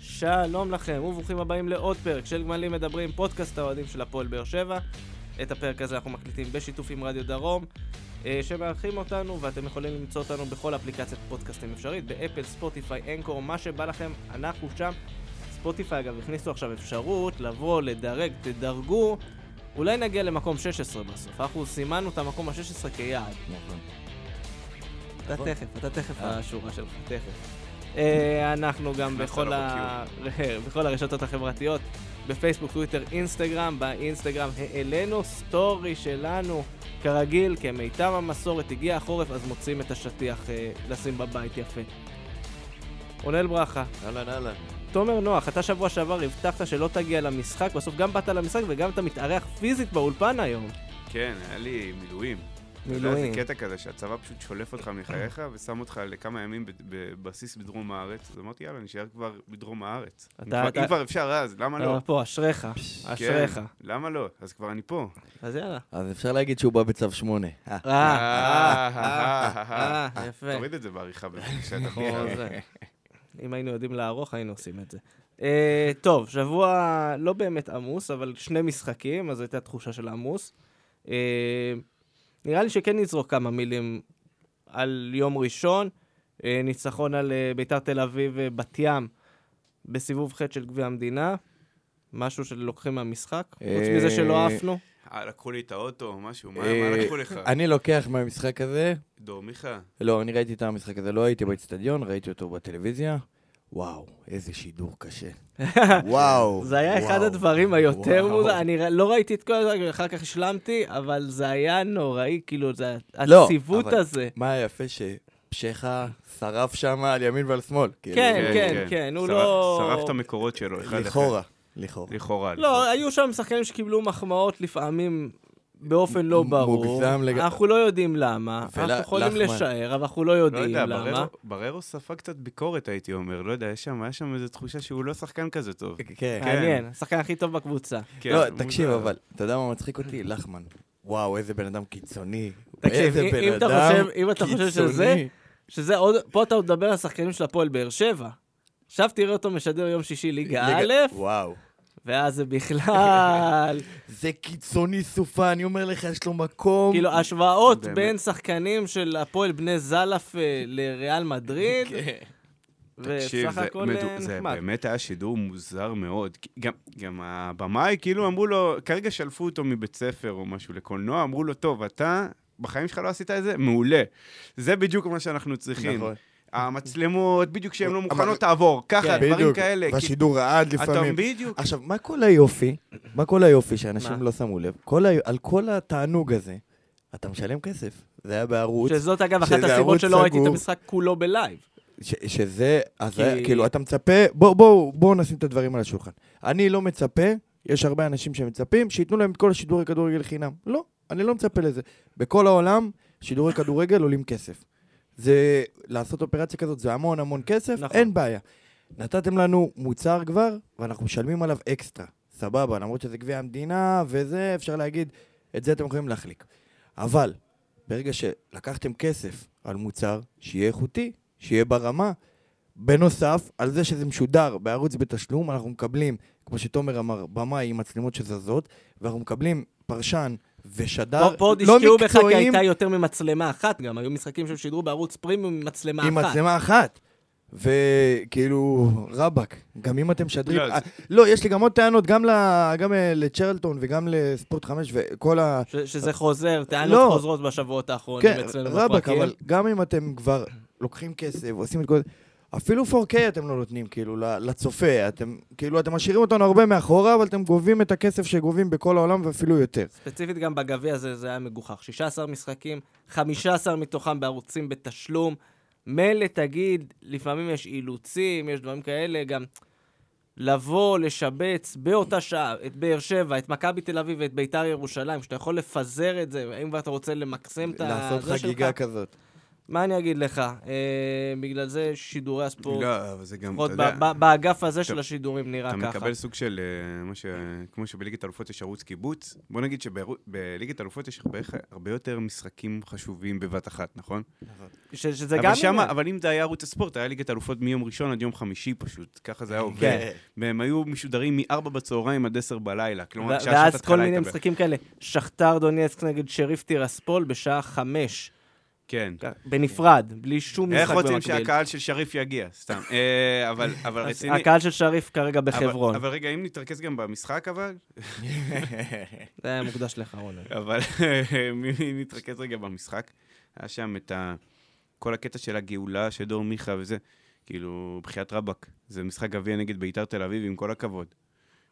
שלום לכם, וברוכים הבאים לעוד פרק של גמלים מדברים, פודקאסט האוהדים של הפועל באר שבע. את הפרק הזה אנחנו מקליטים בשיתוף עם רדיו דרום, אה, שמארחים אותנו, ואתם יכולים למצוא אותנו בכל אפליקציית פודקאסטים אפשרית, באפל, ספוטיפיי, אנקור, מה שבא לכם, אנחנו שם. ספוטיפיי, אגב, הכניסו עכשיו אפשרות לבוא, לדרג, תדרגו. אולי נגיע למקום 16 בסוף, אנחנו סימנו את המקום ה-16 כיעד. נכון. אתה נכון. תכף, אתה תכף אה. השורה שלך, תכף. אה, אנחנו גם נכנסת בכל, ה... בכל הרשתות החברתיות, בפייסבוק, טוויטר, אינסטגרם, באינסטגרם העלינו סטורי שלנו, כרגיל, כמיטב המסורת, הגיע החורף, אז מוצאים את השטיח אה, לשים בבית יפה. רונל ברכה, אהלן, אהלן. תומר נוח, אתה שבוע שעבר הבטחת שלא תגיע למשחק, בסוף גם באת למשחק וגם אתה מתארח פיזית באולפן היום. כן, היה לי מילואים. אתה יודע, מילואים. זה קטע כזה שהצבא פשוט שולף אותך מחייך ושם אותך לכמה ימים בבסיס בדרום הארץ. אז אמרתי, יאללה, נשאר כבר בדרום הארץ. אם אתה- כבר- אתה- אם כבר אפשר אז, למה לא? אבל פה, אשריך, אשריך. כן, למה לא? אז כבר אני פה. אז יאללה. אז אפשר להגיד שהוא בא בצו שמונה. אה, אה, אה, אה, אה, אה, אה, אה, אה. יפה. תוריד את זה בעריכה בבקשה, תחי. כמו זה. אם היינו יודעים לערוך, היינו עושים את זה. אה, טוב, שבוע לא באמת עמוס, אבל שני משחקים, אז הייתה תחושה של עמוס. אה, נראה לי שכן נזרוק כמה מילים על יום ראשון, אה, ניצחון על אה, ביתר תל אביב ובת ים בסיבוב ח' של גביע המדינה, משהו שלוקחים מהמשחק, חוץ אה, מזה שלא עפנו. אה, לקחו לי את האוטו או משהו, מה אה, מה לקחו לך? אני לוקח מהמשחק הזה, דור, מיכה? לא, אני ראיתי את המשחק הזה, לא הייתי באצטדיון, ראיתי אותו בטלוויזיה. וואו, איזה שידור קשה. וואו. זה היה אחד וואו. הדברים היותר וואו. מוזר, אני ר- לא ראיתי את כל הזמן, אחר כך השלמתי, אבל זה היה נוראי, כאילו, זה לא, הציוות אבל- הזה. מה היה יפה שפשחה שרף שם על ימין ועל שמאל. כאילו, כן, זה- כן, כן, הוא שרף- לא- שרף את המקורות שלו. אחד אחד. לכאורה, לכאורה. לכאורה. לא, היו שם שחקנים שקיבלו מחמאות לפעמים באופן לא מ- ברור. מוגזם לגמרי. אנחנו לא יודעים למה, ול- אנחנו יכולים לחמן. לשער, אבל אנחנו לא לא יודעים יודע, למה. בררו- בררו ספג קצת ביקורת, הייתי אומר. לא יודע, יש שם, היה שם איזו תחושה שהוא לא שחקן כזה טוב. כן. מעניין, השחקן הכי טוב בקבוצה. כן, לא, מוזר. תקשיב, אבל, אתה יודע מה מצחיק אותי? לחמן. וואו, איזה בן אדם קיצוני. תקשיב, איזה אם- בן אם אתה אדם חושב- אם אתה חושב שזה, קיצוני. שזה עוד, פה אתה עוד מדבר על שחקנים של הפועל באר שבע. עכשיו תראה אותו משדר יום שישי ליגה א', ליגה- וואו. ואז זה בכלל... זה קיצוני סופה, אני אומר לך, יש לו מקום. נכון. כאילו, השוואות באמת. בין שחקנים של הפועל בני זלף אה, לריאל מדריד, כן. תקשיב, וסך זה הכל מדו- אה, זה נחמד. באמת היה שידור מוזר מאוד. כי גם- גם הבמאי, כאילו אמרו לו, כרגע שלפו אותו מבית ספר או משהו לקולנוע, אמרו לו, טוב, אתה... בחיים שלך לא עשית את זה? מעולה. זה בדיוק מה שאנחנו צריכים. נכון. המצלמות, בדיוק כשהן לא אבל- מוכנות, תעבור. ככה, כן. דברים בדיוק, כאלה. כי- בשידור העד אתה- לפעמים. בדיוק. עכשיו, מה כל היופי? מה כל היופי שאנשים מה? לא שמו לב? כל ה- על כל התענוג הזה, אתה משלם כסף. זה היה בערוץ, שזאת אגב אחת שזה הסיבות ערוץ שלא ראיתי את סגור. המשחק כולו בלייב. ש- שזה, אז כי- היה- כאילו, אתה מצפה, בואו בוא, בוא נשים את הדברים על השולחן. אני לא מצפה, יש הרבה אנשים שמצפים, שייתנו להם את כל השידורי כדורגל חינם. לא, אני לא מצפה לזה. בכל העולם, שידורי כדורגל עולים כסף. זה, לעשות אופרציה כזאת זה המון המון כסף, נכון. נכון. אין בעיה. נתתם לנו מוצר כבר, ואנחנו משלמים עליו אקסטרה. סבבה, למרות שזה גביע המדינה וזה, אפשר להגיד, את זה אתם יכולים להחליק. אבל, ברגע שלקחתם כסף על מוצר, שיהיה איכותי, שיהיה ברמה, בנוסף, על זה שזה משודר בערוץ בתשלום, אנחנו מקבלים, כמו שתומר אמר, במאי עם מצלמות שזזות, ואנחנו מקבלים פרשן ושדר פה- פה עוד לא השקיעו בך כי מקצועיים הייתה יותר ממצלמה אחת גם, היו משחקים שהם שידרו בערוץ פרימיום עם מצלמה עם אחת. מצלמה אחת. וכאילו, רבאק, גם אם אתם משדרים... לא, זה- אה, לא, יש לי גם עוד טענות, גם ל- גם, אה, לצ'רלטון וגם לספורט 5 וכל ה... ש- שזה חוזר, לא. טענות חוזרות בשבועות האחרונים כן, אצלנו רבאק, בפרקים. אבל גם אם אתם כבר לוקחים כסף, עושים את כל זה, אפילו 4K אתם לא נותנים, כאילו, ל- לצופה. אתם, כאילו, אתם משאירים אותנו הרבה מאחורה, אבל אתם גובים את הכסף שגובים בכל העולם ואפילו יותר. ספציפית גם בגביע זה, זה היה מגוחך. 16 משחקים, 15 מתוכם בערוצים בתשלום. מילא תגיד, לפעמים יש אילוצים, יש דברים כאלה, גם לבוא, לשבץ באותה שעה את באר שבע, את מכבי תל אביב ואת ביתר ירושלים, שאתה יכול לפזר את זה, אם אתה רוצה למקסם את ה- לעשות זה שלך, חגיגה כזאת. מה אני אגיד לך? אה, בגלל זה שידורי הספורט, לא, אבל זה גם, לפחות אתה יודע, ב- ב- באגף הזה של אתה- השידורים נראה אתה ככה. מקבל סוג של, אה, מה ש... כמו שבליגת אלופות יש ערוץ קיבוץ, בוא נגיד שבליגת אלופות יש הרבה- הרבה יותר משחקים חשובים בבת אחת, נכון? ש- שזה אבל גם... שמה- עניין. אבל אם זה היה ערוץ הספורט, היה ליגת אלופות מיום ראשון עד יום חמישי פשוט, ככה זה היה עובד. כן. והם היו משודרים מ-4 בצהריים עד 10 בלילה, כלומר, ו- כשהשעת ואז כל התחלה מיני הייתה ב- משחקים כאלה, שכתר דונייצק נגד שריף טירספול בשעה חמש, כן. בנפרד, בלי שום משחק איך במקביל. רוצים שהקהל של שריף יגיע? סתם. אה, אבל אבל אז רציני... הקהל של שריף כרגע אבל- בחברון. אבל רגע, אם נתרכז גם במשחק, אבל... זה היה מוקדש לך, רונן. אבל אה, אם נתרכז רגע במשחק, היה שם את ה... כל הקטע של הגאולה, של דור מיכה וזה, כאילו, בחיית רבאק. זה משחק גביע נגד ביתר תל אביב, עם כל הכבוד.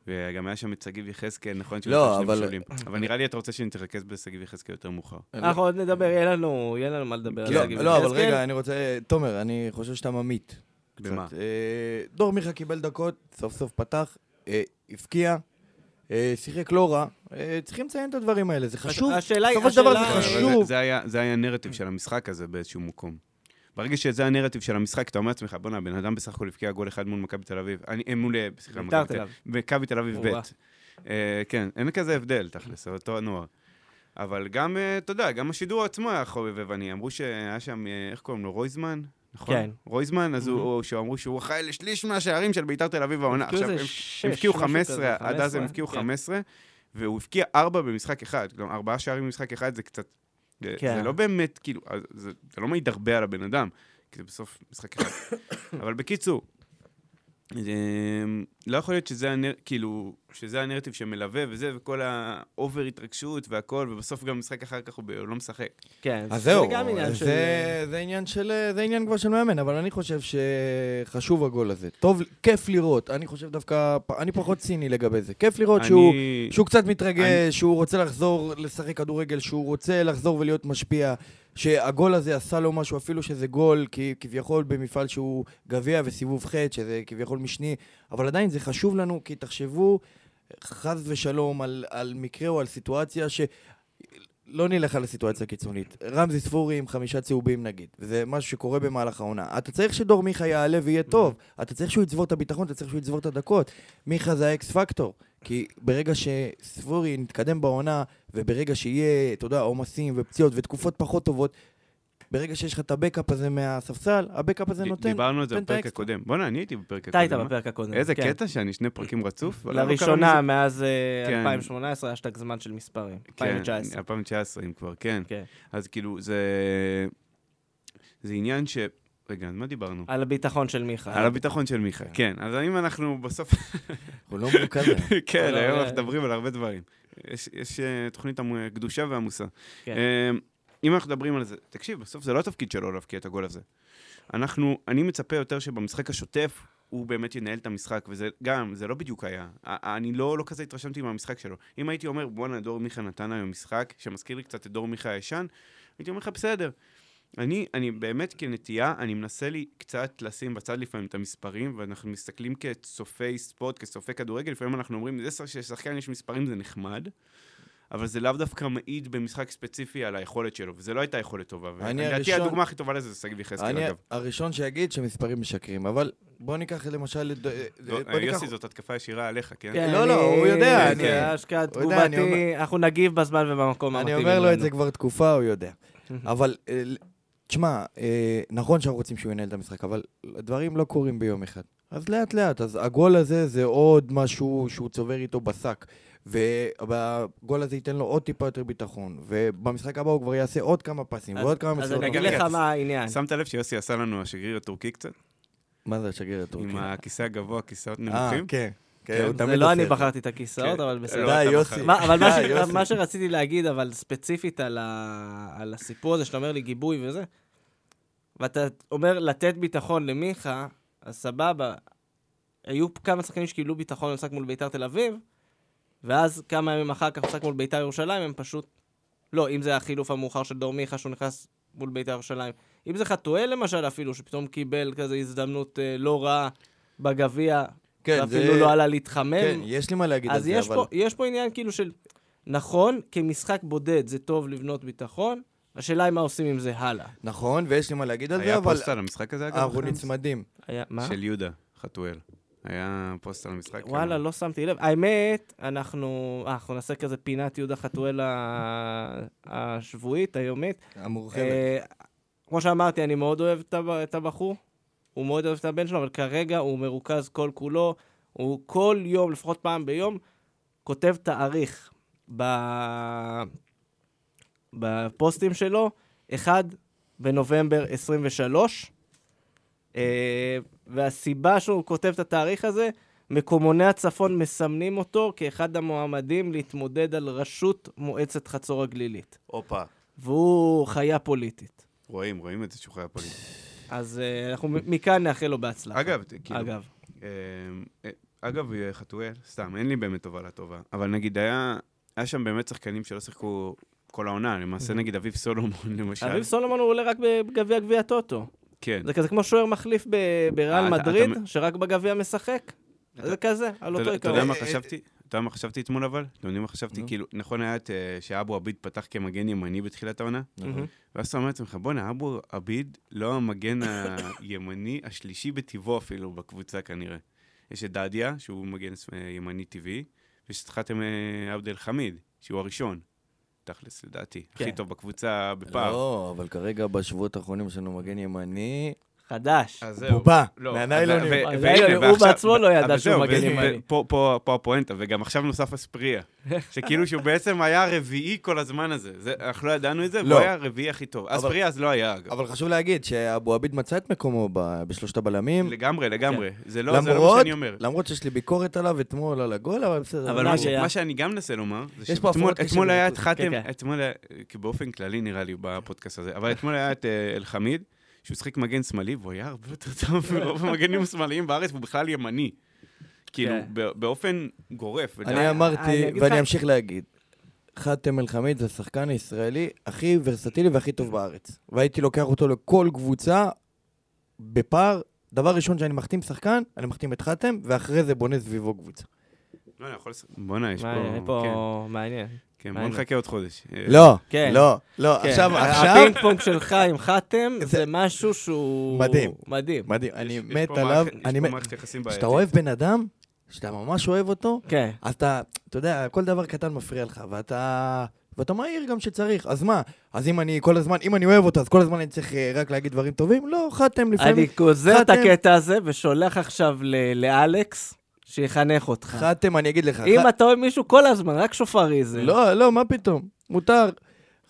וגם היה שם את שגיב יחזקאל, נכון? שהוא לא, נתן שני אבל- בישולים. אבל נראה לי אתה רוצה שנתרכז בשגיב יחזקאל יותר מאוחר. אנחנו עוד נדבר, יהיה לנו, יהיה לנו מה לדבר על כן, לא, שגיב לא, אבל יחזקאל. רגע, אני רוצה... תומר, אני חושב שאתה ממית. קצת. במה? אה, דור מיכה קיבל דקות, סוף סוף פתח, אה, הבקיע, אה, שיחק לא רע. אה, צריכים לציין את הדברים האלה, זה חשוב. השאלה היא- בסופו של דבר השאלה- זה אבל זה- חשוב. זה היה- זה היה הנרטיב של המשחק הזה באיזשהו מקום. ברגע שזה הנרטיב של המשחק, אתה אומר לעצמך, בואנה, הבן אדם בסך הכל הבקיע גול אחד מול מכבי תל אביב. אני, אה, מול, אה, סליחה, ביתר מכבי תל תל אביב. מכבי תל אביב ב'. אורה. אה, כן, אין כזה הבדל, תכלס, זה אותו הנוער. אבל גם, אה, אתה יודע, גם השידור עצמו היה חובבני. אמרו שהיה שם, אה, איך קוראים לו, רויזמן? נכון? כן. רויזמן, אז הוא, או שאמרו שהוא אחראי לשליש מהשערים של ביתר תל אביב העונה. הבקיעו עכשיו, איזה הם שש, הם הבקיעו משהו 15, כזה, עד אז הם הבקיעו כן. 15, והוא הבקיע 4 במשחק אחד. כלומר, 4 שערים במשחק אחד זה קצת... זה כן. זה לא באמת, כאילו, אז זה זה לא מעיד הרבה על הבן אדם, כי זה בסוף משחק אחד. אבל בקיצור, אמ, לא יכול להיות שזה, הנר, כאילו, שזה הנרטיב שמלווה וזה, וכל האובר התרגשות והכל, ובסוף גם משחק אחר כך הוא ב- הוא לא משחק. כן, אז זה זהו, גם עניין זה- של... זה עניין של... זה עניין כבר של מאמן, אבל אני חושב שחשוב הגול הזה. טוב, כיף לראות. אני חושב דווקא... אני פחות ציני לגבי זה. כיף לראות שהוא... אני- שהוא קצת מתרגש, שהוא רוצה לחזור לשחק כדורגל, שהוא רוצה לחזור ולהיות משפיע, שהגול הזה עשה לו משהו, אפילו שזה גול, כי כביכול במפעל שהוא גביע וסיבוב ח', שזה כביכול משני, אבל עדיין זה חשוב לנו, כי תחשבו, חס ושלום, על, על מקרה או על סיטואציה ש... לא נלך על הסיטואציה הקיצונית. רמזי ספורי עם חמישה צהובים נגיד, וזה משהו שקורה במהלך העונה. אתה צריך שדור מיכה יעלה ויהיה Mm-hmm. טוב, אתה צריך שהוא יצבור את הביטחון, אתה צריך שהוא יצבור את הדקות. מיכה זה האקס פקטור, כי ברגע שספורי נתקדם בעונה, וברגע שיהיה, אתה יודע, עומסים ופציעות ותקופות פחות טובות, ברגע שיש לך את הבקאפ הזה מהספסל, הבקאפ הזה ד- נותן... דיברנו על זה נותן את בפרק האקסטרה. הקודם. בואנה, אני הייתי אתה בפרק הקודם. היית אה? בפרק הקודם. איזה כן. קטע שאני שני פרקים רצוף. אבל לא קרה לראשונה מזה- מאז אה, כן. 2018 היה שתק זמן של מספרים. כן, 2019. 2019, אם כבר, כן. כן. אז כאילו, זה... זה עניין ש... רגע, על מה דיברנו? על הביטחון של מיכה. על הביטחון של מיכה, כן. אז אם אנחנו בסוף... הוא לא מורכב. כן, לא, היום אה. אנחנו מדברים על הרבה דברים. יש- יש אה, תוכנית המ- הקדושה והמושא. כן. אה, אם אנחנו מדברים על זה, תקשיב, בסוף זה לא התפקיד שלו להבקיע את הגול הזה. אנחנו, אני מצפה יותר שבמשחק השוטף, הוא באמת ינהל את המשחק, וזה גם, זה לא בדיוק היה. א- אני לא, לא כזה התרשמתי מהמשחק שלו. אם הייתי אומר, בואנה, דור מיכה נתן היום משחק, שמזכיר לי קצת את דור מיכה הישן, הייתי אומר לך, בסדר. אני, אני באמת כנטייה, אני מנסה לי קצת לשים בצד לפעמים את המספרים, ואנחנו מסתכלים כצופי ספורט, כצופי כדורגל, לפעמים אנחנו אומרים, זה ששחקן יש מספרים זה נחמד, אבל זה לאו דווקא מעיד במשחק ספציפי על היכולת שלו, וזו לא הייתה יכולת טובה. אני לדעתי הראשון- הדוגמה הכי טובה לזה זה שגיב יחזקאל, אני כן, אגב. הראשון שיגיד שמספרים משקרים, אבל בוא ניקח למשל... את- לא, בוא ניקח- יוסי, זאת התקפה ישירה עליך, כן? כן, לא, לא, אני- הוא יודע, זה אני- השקעה הוא יודע, אני תגובתי, אנחנו נגיב בזמן ובמקום אני המתאים. אומר לו את לנו. זה כבר תקופה, הוא יודע. אבל, אה, ל- תשמע, אה, נכון שאנחנו רוצים שהוא ינהל את המשחק, אבל הדברים לא קורים ביום אחד. אז לאט לאט, אז הגול הזה זה עוד משהו שהוא צובר איתו בשק. והגול הזה ייתן לו עוד טיפה יותר ביטחון, ובמשחק הבא הוא כבר יעשה עוד כמה פסים, אז- ועוד כמה כן. אז אני מסירות. אגיד רגע, לך רגע, מה העניין. שמת לב שיוסי עשה לנו השגריר הטורקי קצת? מה זה השגריר הטורקי? עם הכיסא הגבוה, כיסאות אה, נמוכים? כן. כן, כן, הוא זה זה תמיד לא עושה אני את זה. בחרתי את הכיסאות, כן. אבל לא, בסדר. די, אתה יוסי. בחרת. מה- אבל מה די, ש- יוסי. מה שרציתי להגיד, אבל ספציפית על ה- על הסיפור הזה, שאתה אומר לי גיבוי וזה, ואתה אומר לתת ביטחון למיכה, אז סבבה. היו כמה שחקנים שקיבלו ביטחון במשחק מול ביתר תל אביב, ואז כמה ימים אחר כך במשחק מול ביתר ירושלים, הם פשוט... לא, אם זה החילוף המאוחר של דור מיכה שהוא נכנס מול ביתר ירושלים. אם זה חתואל למשל אפילו, שפתאום קיבל כזה הזדמנות אה, לא רעה בגביע, כן, זה- ואפילו לא עלה להתחמם. כן, יש לי מה להגיד על אז זה, יש אבל... פה, יש פה עניין כאילו של, נכון, כמשחק בודד זה טוב לבנות ביטחון, השאלה היא מה עושים עם זה הלאה. נכון, ויש לי מה להגיד על זה, היה אבל פוסט על המשחק הזה, אגב? אנחנו בכלל? נצמדים. היה, מה? של יהודה, חתואל. היה פוסט על המשחק. כאילו, וואלה, כן. לא שמתי לב. האמת, אנחנו... אה, אנחנו נעשה כזה פינת יהודה חתואל ה- השבועית, היומית. המורחבת. אה, כמו שאמרתי, אני מאוד אוהב את הב- את הבחור, הוא מאוד אוהב את הבן שלו, אבל כרגע הוא מרוכז כל כולו, הוא כל יום, לפחות פעם ביום, כותב תאריך ב... בפוסטים שלו, 1 בנובמבר 23, אה, והסיבה שהוא כותב את התאריך הזה, מקומוני הצפון מסמנים אותו כאחד המועמדים להתמודד על ראשות מועצת חצור הגלילית. הופה. והוא חיה פוליטית. רואים, רואים את זה שהוא חיה פוליטי. אז אה, אנחנו מ- מכאן נאחל לו בהצלחה. אגב, לא כאילו, אגב. אמ, אה, אגב, אה, חתואל, סתם, אין לי באמת תובלה טובה. אבל נגיד, היה היה שם באמת שחקנים שלא שיחקו כל העונה, למעשה נגיד אביב סולומון, למשל. אביב סולומון הוא עולה רק בגביע גביע טוטו. כן. זה כזה כמו שוער מחליף ב- אה, בריאל אתה- מדריד, אתה- שרק בגביע משחק. זה כזה, על אתה כאילו לא אותו אתה יודע עיקרון. מה אה, חשבתי? אתה יודע מה חשבתי אתמול אבל? אתם יודעים מה חשבתי? נו. כאילו, נכון היה את, אה, שאבו עביד פתח כמגן ימני בתחילת העונה? מהמם. ואז אתה אומר לעצמך, בואנה, אבו עביד לא המגן הימני השלישי בטבעו אפילו בקבוצה כנראה. יש את דדיה, שהוא מגן ס- אה, ימני טבעי, ויש את חתם אה, עבד אל חמיד, שהוא הראשון, תכלס, לדעתי. הכי כן. טוב בקבוצה בפער. לא, אבל כרגע בשבועות האחרונים יש לנו מגן ימני. חדש. אז זהו. בובה. לא, מהניילונים. אז- ו- אז והנה, הוא ועכשיו- בעצמו לא ידע אבל שהוא זהו, מגן ו- ימני. ופה פה- פה הפואנטה, וגם עכשיו נוסף אספריה, שכאילו שהוא בעצם היה הרביעי כל הזמן הזה. זה- אנחנו לא ידענו את זה, והוא לא. היה הרביעי הכי טוב. אספריה אז לא היה, אגב. אבל חשוב להגיד שאבו עביד מצא את מקומו ב- בשלושת הבלמים. לגמרי, לגמרי. כן. זה לא זה לא מה למרות, שאני אומר. למרות שיש לי ביקורת עליו אתמול על הגול, אבל בסדר. אבל הוא- מה, שהיה- מה שאני גם מנסה לומר, זה יש פה שאתמול הפרעות קשה אתמול היה את בליכוד. חתם, כן, כן. אתמול היה, כי באופן כללי נראה לי בפודקאסט הזה, אבל אתמול היה את אה, אלחמיד, שהוא שחק מגן שמאלי, והוא היה הרבה יותר טוב מרוב המגנים השמאליים בארץ, והוא בכלל ימני. כאילו, כן. ב- באופן גורף. אני אני- אני אמרתי, אגיד לך- ואני אמשיך להגיד, חאתם אל-חמיד זה השחקן הישראלי הכי ורסטילי והכי טוב בארץ. והייתי לוקח אותו לכל קבוצה, בפער. דבר ראשון שאני מחתים שחקן, אני מחתים את חאתם, ואחרי זה בונה סביבו קבוצה. לא, אני יכול... לס- בואנה, יש מה, פה... יש פה מעניין. כן, כן, מה בוא העניין? נחכה עוד חודש. אה, לא, כן. לא, לא, כן. עכשיו, ה- עכשיו, הפינג פונג שלך עם חתם זה זה- משהו שהוא... מדהים. מדהים. מדהים, יש- אני יש מת פה עליו, מערכת- אני יש פה מת, מערכת יחסים כשאתה בעייתית. אוהב בן אדם, שאתה ממש אוהב אותו, כן. אז אתה, אתה יודע, כל דבר קטן מפריע לך, ואתה... ואתה מהיר גם שצריך, אז מה? אז אם אני כל הזמן, אם אני אוהב אותו, אז כל הזמן אני צריך אה, רק להגיד דברים טובים? לא, חתם אני לפעמים. גוזר את חתם- הקטע הזה ושולח עכשיו ל- לאלכס, שיחנך אותך. חתם, אני אגיד לך. אם ח- אתה אוהב מישהו כל הזמן, רק שופריזם. לא, לא, מה פתאום? מותר.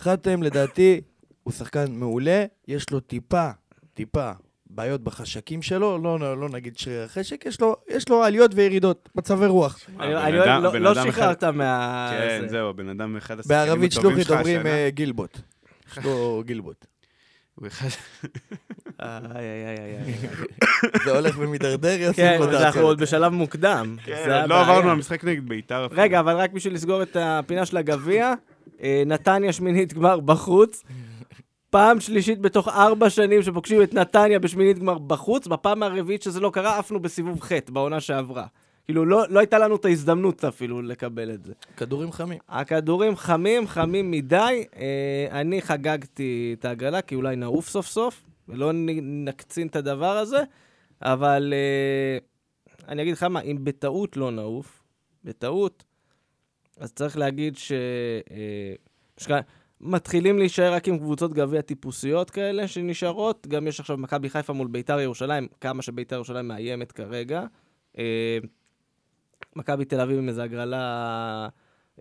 חתם, לדעתי, הוא שחקן מעולה, יש לו טיפה, טיפה, בעיות בחשקים שלו, לא, לא, לא נגיד שריר החשק, יש לו, יש לו עליות וירידות, מצבי רוח. אני- הבן אני לא- אדם- לא- הבן לא אדם אחד- שחררת מה... כן, אה, זה. זהו, הבן אדם אחד השחקנים בערבית הטובים שלוחית שלך אומרים השנה. אה, גילבוט. יש לו גילבוט. הוא אחד- איי, איי, איי, איי, איי. זה הולך ומידרדר, יעשו כן, לו את אז אנחנו ההצלה. עוד בשלב מוקדם. זה כן, לא הבעיה. עברנו על משחק נגד בית"ר אפילו. רגע, אבל רק בשביל לסגור את הפינה של הגביע, אה, נתניה שמינית גמר בחוץ. פעם שלישית בתוך ארבע שנים שפוגשים את נתניה בשמינית גמר בחוץ, בפעם הרביעית שזה לא קרה, עפנו בסיבוב ח' בעונה שעברה. כאילו, לא לא הייתה לנו את ההזדמנות אפילו לקבל את זה. כדורים חמים. אוקיי. הכדורים חמים, חמים מדי. אה, אני חגגתי את ההגרלה, כי אולי נעוף סוף סוף, ולא נ- נקצין את הדבר הזה, אבל אה, אני אגיד לך מה, אם בטעות לא נעוף, בטעות, אז צריך להגיד ש... אה, שכ... מתחילים להישאר רק עם קבוצות גביע טיפוסיות כאלה שנשארות. גם יש עכשיו מכבי חיפה מול ביתר ירושלים, כמה שביתר ירושלים מאיימת כרגע. אה, מכבי תל אביב עם איזו הגרלה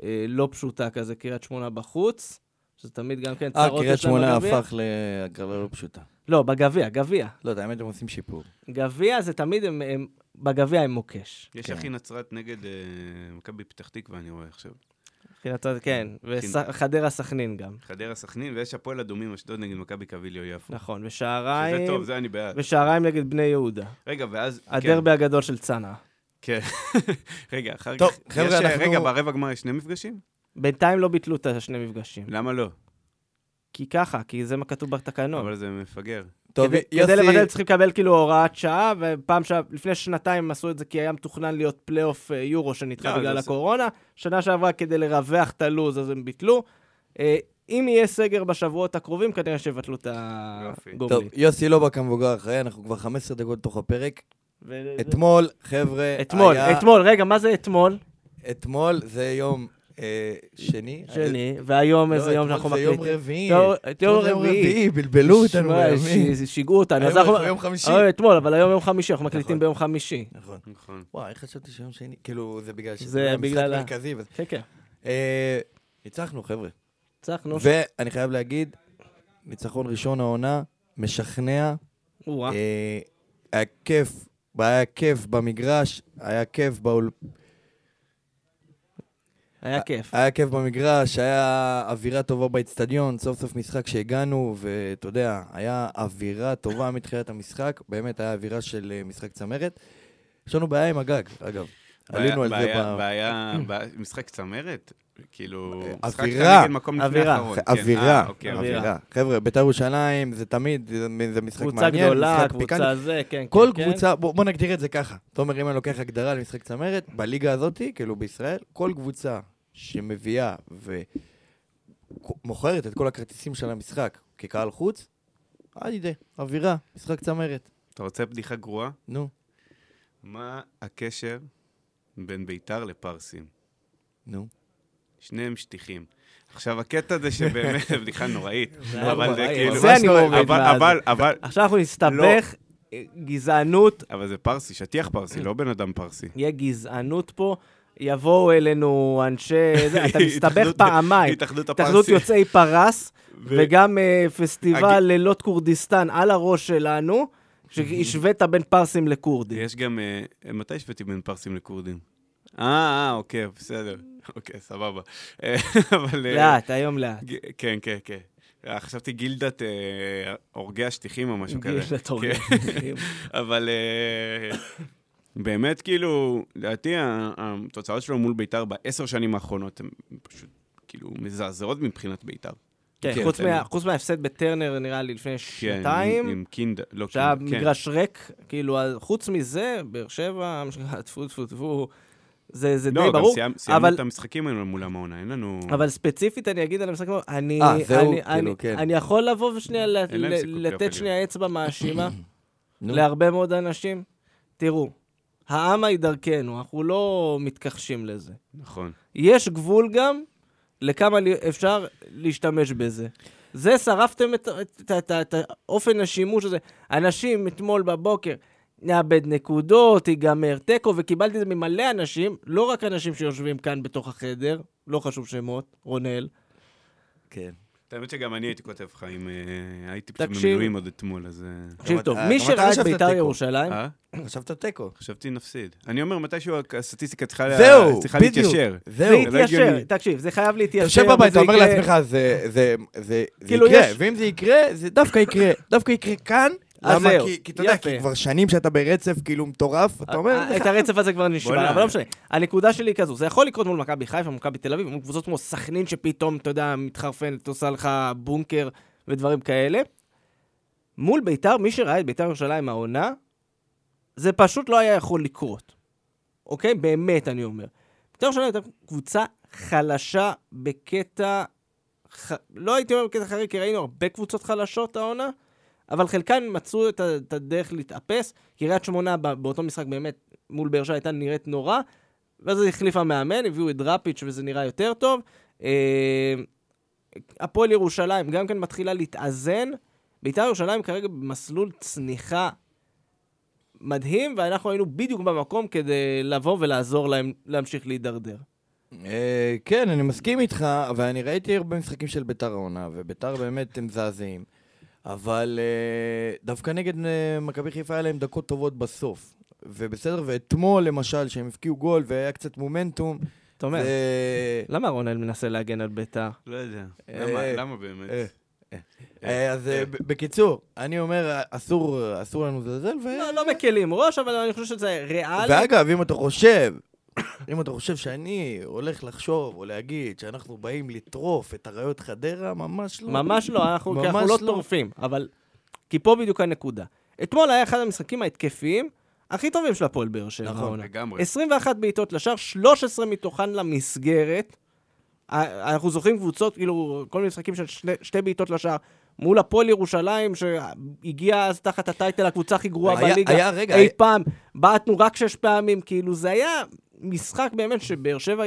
אה, לא פשוטה כזה, קריית שמונה בחוץ, שזה תמיד גם כן אה, צרות קריית יש לנו שמונה בגביע. הפך להגרלה לא פשוטה. לא, בגביע, גביע. לא יודע, האמת הם עושים שיפור. גביע זה תמיד, הם, הם, בגביע הם מוקש. יש כן. אחי נצרת נגד אה, מכבי פתח תקווה, אני רואה עכשיו. מבחינת, נכון. ה- כן, וחדרה סכנין גם. חדרה סכנין, ויש הפועל אדומים אשדוד נגד מכבי קביליו יפו. נכון, שזה ושעריים, טוב, זה אני בעד. ושעריים נגד בני יהודה. רגע, ואז... כן, הדרבי הגדול של צנעא. כן. רגע, אחר כך... טוב, יש, חבר'ה, אה, אנחנו- רגע, ברבע גמר יש שני מפגשים? בינתיים לא ביטלו את השני מפגשים. למה לא? כי ככה, כי זה מה כתוב בתקנון. לא. אבל זה מפגר. טוב, כדי- יוסי, כדי לבטל צריכים לקבל כאילו הוראת שעה, ופעם ש... לפני שנתיים הם עשו את זה כי היה מתוכנן להיות פלייאוף אה, יורו שנדחה לא, זה בגלל עושה- הקורונה. שנה שעברה כדי לרווח את הלו"ז אז הם ביטלו. אה, אם יהיה סגר בשבועות הקרובים, כנראה שיבטלו את יופי. טוב, הגומלין. יוסי לובק המבוגר אחראי, אנחנו כבר 15 דקות לתוך הפרק. ו- אתמול, חבר'ה, אתמול, היה- אה, אתמול, רגע, מה זה אתמול? אתמול זה יום אה, שני. שני, והיום לא, איזה יום אתמול שאנחנו זה מקליטים. יום רביעי. יום- יום זה יום רביעי. רביעי, בלבלו אותנו שמע, בימים. ש- שיגעו אותנו. אז היום אנחנו- אנחנו יום חמישי. אה, אתמול, אבל היום יום חמישי, אנחנו מקליטים נכון. ביום חמישי. נכון. נכון. וואי, איך חשבתי שיום שני? כאילו, זה בגלל זה שזה משחק בגלל ה- מרכזי. וזה- כן, כן, אה, ניצחנו, חבר'ה. ניצחנו. ואני חייב להגיד, ניצחון ראשון העונה, משכנע. וואה. אה, היה כיף, היה כיף במגרש, היה כיף באול... היה כיף. היה כיף במגרש, היה אווירה טובה באצטדיון, סוף סוף משחק שהגענו, ואתה יודע, היה אווירה טובה מתחילת המשחק, באמת היה אווירה של אה, משחק צמרת. יש לנו בעיה עם הגג, אגב. עלינו על זה בעיה- ב... בעיה, בעיה- משחק צמרת? כאילו, משחק אווירה. נגד מקום לפני אווירה. האחרון. כן. אווירה, אה, אוקיי, אווירה. אווירה. חבר'ה, בית"ר ירושלים זה תמיד, זה- זה משחק קבוצה מעניין, גדולה, משחק פיקנטי. קבוצה זה, כן, כן, כל כן. קבוצה, בוא, בוא נגדיר את זה ככה. תומר, אם אני לוקח הגדרה למשחק צמרת, בליגה הזאת, כאילו בישראל, כל קבוצה שמביאה ומוכרת את כל הכרטיסים של המשחק כקהל חוץ, עד ידי, אווירה, משחק צמרת. אתה רוצה בדיחה גרועה? נו, מה הקשר בין ביתר לפרסים? נו. שניהם שטיחים. עכשיו, הקטע זה שבאמת, זו בדיחה נוראית, היה אבל זה נוראי, כאילו... זה אני מוריד אבל- מה- אבל, אבל, עכשיו אנחנו נסתבך, לא. אה, גזענות, אבל זה פרסי, שטיח פרסי, לא בן אדם פרסי. יהיה גזענות פה, יבואו אלינו אנשי... זה, אתה מסתבך התאחדות- פעמיים. התאחדות התאחדות הפרסי. יוצאי פרס, ו- וגם אה, פסטיבל הג- לילות כורדיסטן על הראש שלנו, שהשווית בין פרסים לכורדים. יש גם... אה, מתי השוויתי בין פרסים לכורדים? אה, אה, אוקיי, בסדר. אוקיי, סבבה. אה, אבל... אה, לאט, היום לאט. ג- כן, כן, כן. אה, חשבתי גילדת אה, הורגי השטיחים או משהו כזה. גיל לתורגל. כן. אבל אה, באמת, כאילו, לדעתי ה- התוצאות שלו מול ביתר בעשר שנים האחרונות הן פשוט, כאילו, מזעזעות מבחינת ביתר. כן, כן, חוץ תן לי. מה- חוץ מההפסד בטרנר, נראה לי, לפני כן, עם- שנתיים, עם קינדה, לא שהיה קינדה, כן. מגרש ריק, כאילו, אז חוץ מזה, באר שבע, מה שנקרא, טפו טפו טפו, זה זה די לא, גם ברור, סיימ- סיימנו אבל את המשחקים האלה מולם העונה, אין לנו... אבל ספציפית אני אגיד על המשחק, הזה, אני, Mm. אה, זהו, אני, כאילו, אני, כן. אני יכול לבוא ושנייה ל- אין להם ל- סיכוי לתת פלייאוף שנייה אצבע מאשימה נו. להרבה מאוד אנשים. תראו, העם היא דרכנו, אנחנו לא מתכחשים לזה. נכון. יש גבול גם לכמה לי- אפשר להשתמש בזה. זה, שרפתם את, את, את, את, את אופן השימוש הזה. אנשים אתמול בבוקר, נאבד נקודות, ייגמר תיקו, וקיבלתי את זה ממלא אנשים, לא רק אנשים שיושבים כאן בתוך החדר, לא חשוב שמות, רונאל. כן. האמת שגם אני הייתי כותב לך אם אה, הייתי פשוט תקשיב. במילואים עוד אתמול, אז... אה, תקשיב גם טוב, אתה- מי גם שראה אתה את חשבת בית"ר תיקו. ירושלים, אה? חשבת תיקו. חשבתי נפסיד. אני אומר, מתישהו הסטטיסטיקה צריכה לה- זהו, צריכה בדיוק. להתיישר. אה, זה זהו. לא התיישר, הגיוני. תקשיב, זה חייב להתיישר. אתה יושב בבית, וזה אתה אומר יקרה. לעצמך, זה- זה זה- זה כאילו, יקרה, יש- ואם זה יקרה, זה דווקא יקרה. דווקא יקרה כאן. אז למה? זהו, כי- כי אתה יודע, יפה. אה, כי כבר שנים שאתה ברצף כאילו מטורף, אתה אומר, את הרצף הזה כבר נשמע, בוא'נה. אבל לא משנה. הנקודה שלי היא כזו, זה יכול לקרות מול מכבי חיפה, מכבי תל אביב, מול קבוצות כמו סכנין שפתאום, אתה יודע, מתחרפנת, עושה לך בונקר ודברים כאלה. מול ביתר, מי שראה את ביתר ירושלים העונה, זה פשוט לא היה יכול לקרות. אוקיי? באמת, אני אומר. ביתר ירושלים הייתה קבוצה חלשה בקטע... ח... לא הייתי אומר בקטע חריג, כי ראינו הרבה קבוצות חלשות העונה, אבל חלקן מצאו את, ה- את הדרך להתאפס. קריית שמונה ב- באותו משחק באמת מול באר שבע הייתה נראית נורא, ואז היא החליפה מאמן, הביאו את דראפיץ' וזה נראה יותר טוב. אה, הפועל ירושלים גם כן מתחילה להתאזן. בית"ר ירושלים כרגע במסלול צניחה מדהים, ואנחנו היינו בדיוק במקום כדי לבוא ולעזור להם להמשיך להידרדר. אה, כן, אני מסכים איתך, אבל אני ראיתי הרבה משחקים של ביתר העונה, וביתר באמת הם מזעזעים. אבל אה, דווקא נגד אה, מכבי חיפה היה להם דקות טובות בסוף. ובסדר, ואתמול למשל, שהם הבקיעו גול והיה קצת מומנטום, אתה אומר, לא, זה- למה רונל מנסה להגן על בית"ר? לא יודע. אה, למה- אה, למה באמת? אה, אה, אז אה, ב- בקיצור, אני אומר, אה, אסור אסור לנו לזלזל, ו... לא, לא מקלים ראש, אבל אני חושב שזה ריאלי. ואגב, אם אתה חושב, אם אתה חושב שאני הולך לחשוב או להגיד שאנחנו באים לטרוף את אריות חדרה, ממש לא. ממש לא, אנחנו, כי ממש אנחנו לא לא. טורפים, אבל... כי פה בדיוק הנקודה. אתמול היה אחד המשחקים ההתקפיים הכי טובים של הפועל באר שבע. נכון, העונה. לגמרי. 21 בעיטות לשער, 13 מתוכן למסגרת. אה, אנחנו זוכרים קבוצות, כאילו, כל מיני משחקים של שני, שתי בעיטות לשער. מול הפועל ירושלים, שהגיעה אז תחת הטייטל הקבוצה הכי גרועה היה- בליגה. היה רגע, אי היה- פעם, בעטנו רק שש פעמים, כאילו, זה היה משחק באמת שבאר שבע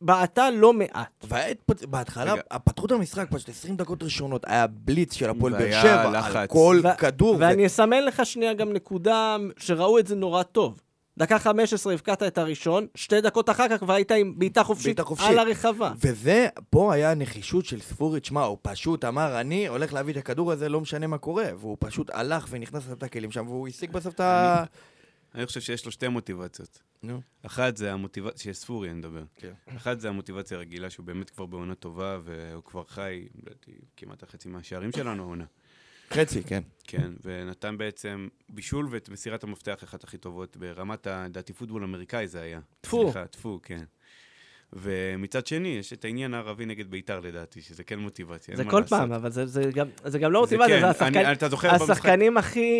בעטה לא מעט. והיה התפוצ- בהתחלה, רגע. פתחו את המשחק פשוט 20 דקות ראשונות, היה בליץ של הפועל באר והיה שבע, על לחץ. כל ו- כדור. ו- ואני אסמן לך שנייה גם נקודה שראו את זה נורא טוב. דקה 15 הבקעת את הראשון, שתי דקות אחר כך כבר היית עם בעיטה חופשית בעיטה חופשית. על הרחבה. וזה, פה היה הנחישות של ספורי, תשמע, הוא פשוט אמר, אני הולך להביא את הכדור הזה, לא משנה מה קורה. והוא פשוט הלך ונכנס לתת הכלים שם, והוא השיג בסוף את ה... אני חושב שיש לו שתי מוטיבציות. נו. אחת זה המוטיבציה, שספורי אני מדבר. כן. אחת זה המוטיבציה הרגילה, שהוא באמת כבר בעונה טובה, והוא כבר חי, לדעתי, כמעט החצי מהשערים שלנו העונה. חצי, כן. כן, ונתן בעצם בישול ואת מסירת המפתח אחת הכי טובות ברמת, ה- לדעתי, פוטבול אמריקאי זה היה. טפו. סליחה, טפו, כן. ומצד שני, יש את העניין הערבי נגד בית"ר, לדעתי, שזה כן מוטיבציה, אין זה מה כל לעשות. פעם, אבל זה- זה גם- זה גם לא זה מוטיבציה, כן, זה אני- השחקן- אתה זוכר במשחק- השחקנים הכי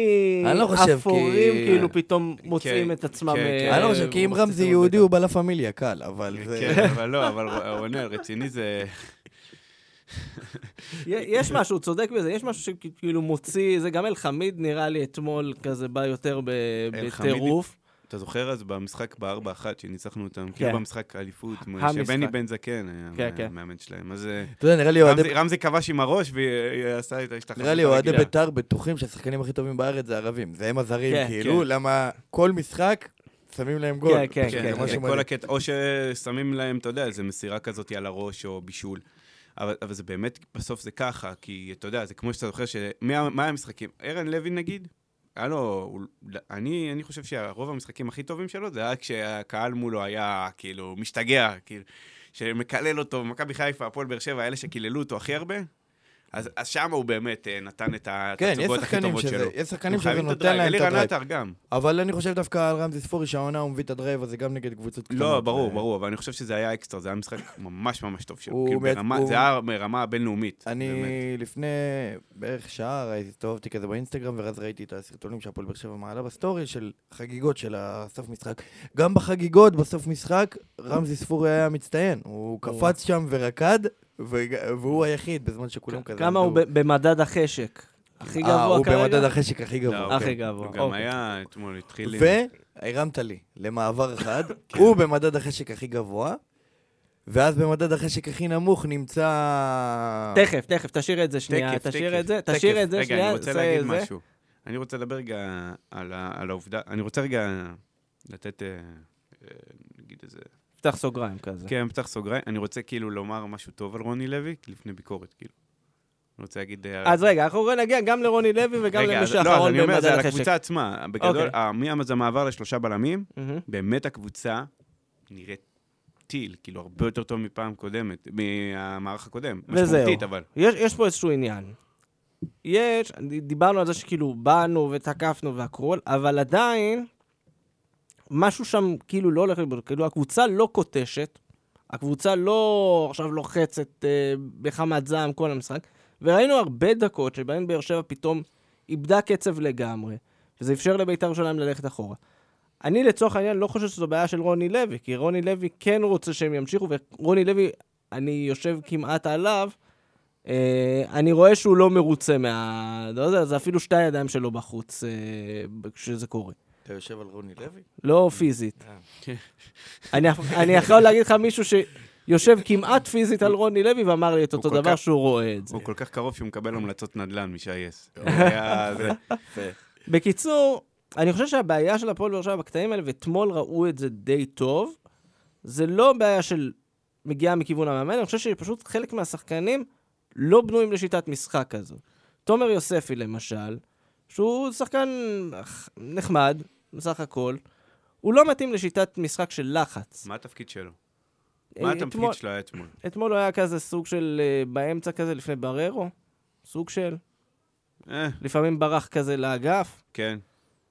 אני לא חושב, כי- אפורים, כאילו פתאום מוצאים כן, את עצמם. כן, אה, כן. אני לא חושב, כי אם רם זה מוצאים יהודי, אותם. הוא בלה פמיליה, קל, אבל זה... כן, אבל לא, אבל רונן, רציני זה... יה- יש משהו, הוא צודק בזה, יש משהו שכאילו מוציא, זה גם אלחמיד נראה לי אתמול כזה בא יותר ב- אלחמיד- בטירוף. אתה זוכר אז במשחק בארבע אחת שניצחנו אותם, כן. כאילו במשחק האליפות, המשחק. שבני בן זקן כן, היה כן. המאמן שלהם. אז אה, אתה יודע, נראה לי רמזי- אוהדי- רמזי כבש עם הראש ועשה את ההשתחררות. נראה לי אוהדי הרגילה. בית"ר בטוחים שהשחקנים הכי טובים בארץ זה ערבים. זה הם כן, הזרים, כאילו, כן. למה כל משחק שמים להם גול. כן, כן, פשוט, כן, זה כן, כן. משהו כל מדהים. הקטע, או ששמים להם, אתה יודע, איזה מסירה כזאת על הראש או בישול. אבל, אבל זה באמת, בסוף זה ככה, כי אתה יודע, זה כמו שאתה זוכר, ש... מה, מה המשחקים? ערן לוי נגיד, היה לו, הוא, אני, אני חושב שרוב המשחקים הכי טובים שלו זה היה כשהקהל מולו היה כאילו משתגע, כאילו, שמקלל אותו, מכבי חיפה, הפועל באר שבע, אלה שקיללו אותו הכי הרבה. אז, אז שם הוא באמת אה, נתן את כן, יש התצוגות הכי שחקנים טובות שזה- שלו. יש שחקנים הם שזה חייבים נותן להם את אלירן הדרייב. עטר גם. אבל אני חושב דווקא על רמזי ספורי שהעונה הוא מביא את הדרייב הזה גם נגד קבוצות קטנות. לא, ברור, ו- ברור, אבל אני חושב שזה היה אקסטרה, זה היה משחק ממש ממש טוב שלו. הוא כאילו, באמת- ברמה- הוא- זה היה ברמה הבינלאומית. אני באמת. לפני בערך שעה ראיתי- הסתובבתי כזה באינסטגרם, ואז ראיתי את הסרטונים שהפועל באר שבע מעלה בסטורי של חגיגות של הסוף משחק. גם בחגיגות בסוף משחק, רמזי ספורי היה מצטיין. הוא קפץ שם ורקד, וג- והוא היחיד בזמן שכולם כזה... כמה הוא עמדו. ב- במדד החשק? הכי אה, גבוה כרגע? הוא במדד החשק הכי לא, גבוה. כן. הכי אוקיי. גבוה, הוא גם אוקיי. היה אתמול, התחיל... עם- והרמת לי למעבר אחד, הוא במדד החשק הכי גבוה, ואז במדד החשק הכי נמוך נמצא... תכף, תכף, תשאיר את זה שנייה, תקף, תשאיר תקף, את זה, תקף. תשאיר את זה שנייה. רגע, אני רוצה זה- להגיד זה. משהו. אני רוצה לדבר רגע על ה- על העובדה, אני רוצה רגע לתת, אה, אה, נגיד איזה... פתח סוגריים כזה. כן, פתח סוגריים. אני רוצה כאילו לומר משהו טוב על רוני לוי, לפני ביקורת, כאילו. אני רוצה להגיד... אה, אז רגע, אנחנו נגיע גם לרוני לוי וגם רגע, למי אז- לא, אז שאחרון אני אומר, במדד זה על החשק. הקבוצה עצמה. בגדול, אוקיי. ה- מי- זה מעבר לשלושה בלמים, מהמם. באמת הקבוצה נראית טיל, כאילו הרבה יותר טוב מפעם קודמת, מהמערך הקודם. וזהו. משמעותית, אבל. יש, יש פה איזשהו עניין. יש, דיברנו על זה שכאילו באנו ותקפנו והכול, אבל עדיין משהו שם כאילו לא הולך לבדוק. כאילו הקבוצה לא קוטשת, הקבוצה לא עכשיו לוחצת אה, בחמת זעם כל המשחק, וראינו הרבה דקות שבהן באר שבע פתאום איבדה קצב לגמרי, וזה אפשר לבית"ר שלהם ללכת אחורה. אני לצורך העניין לא חושב שזו בעיה של רוני לוי, כי רוני לוי כן רוצה שהם ימשיכו, ורוני לוי, אני יושב כמעט עליו, אה, אני רואה שהוא לא מרוצה מה... לא יודע, זה אפילו שתי הידיים שלו בחוץ אה, כשזה קורה. אתה יושב על רוני לוי? לא פיזית. אני, אני יכול להגיד לך מישהו שיושב כמעט פיזית על רוני לוי ואמר לי את הוא אותו כל דבר כך- שהוא רואה את זה. הוא כל כך קרוב שהוא מקבל המלצות נדל"ן משי-אס. הוא היה זה. בקיצור, אני חושב שהבעיה של הפועל באר שבע בקטעים האלה, ואתמול ראו את זה די טוב, זה לא בעיה של מגיעה מכיוון המאמן, אני חושב שפשוט חלק מהשחקנים לא בנויים לשיטת משחק כזו. תומר יוספי למשל, שהוא שחקן נחמד, בסך הכל, הוא לא מתאים לשיטת משחק של לחץ. מה התפקיד שלו? מה התפקיד אה, אתמול- שלו היה אתמול? אתמול הוא היה כזה סוג של אה, באמצע כזה לפני בררו, סוג של, אה, לפעמים ברח כזה לאגף. כן.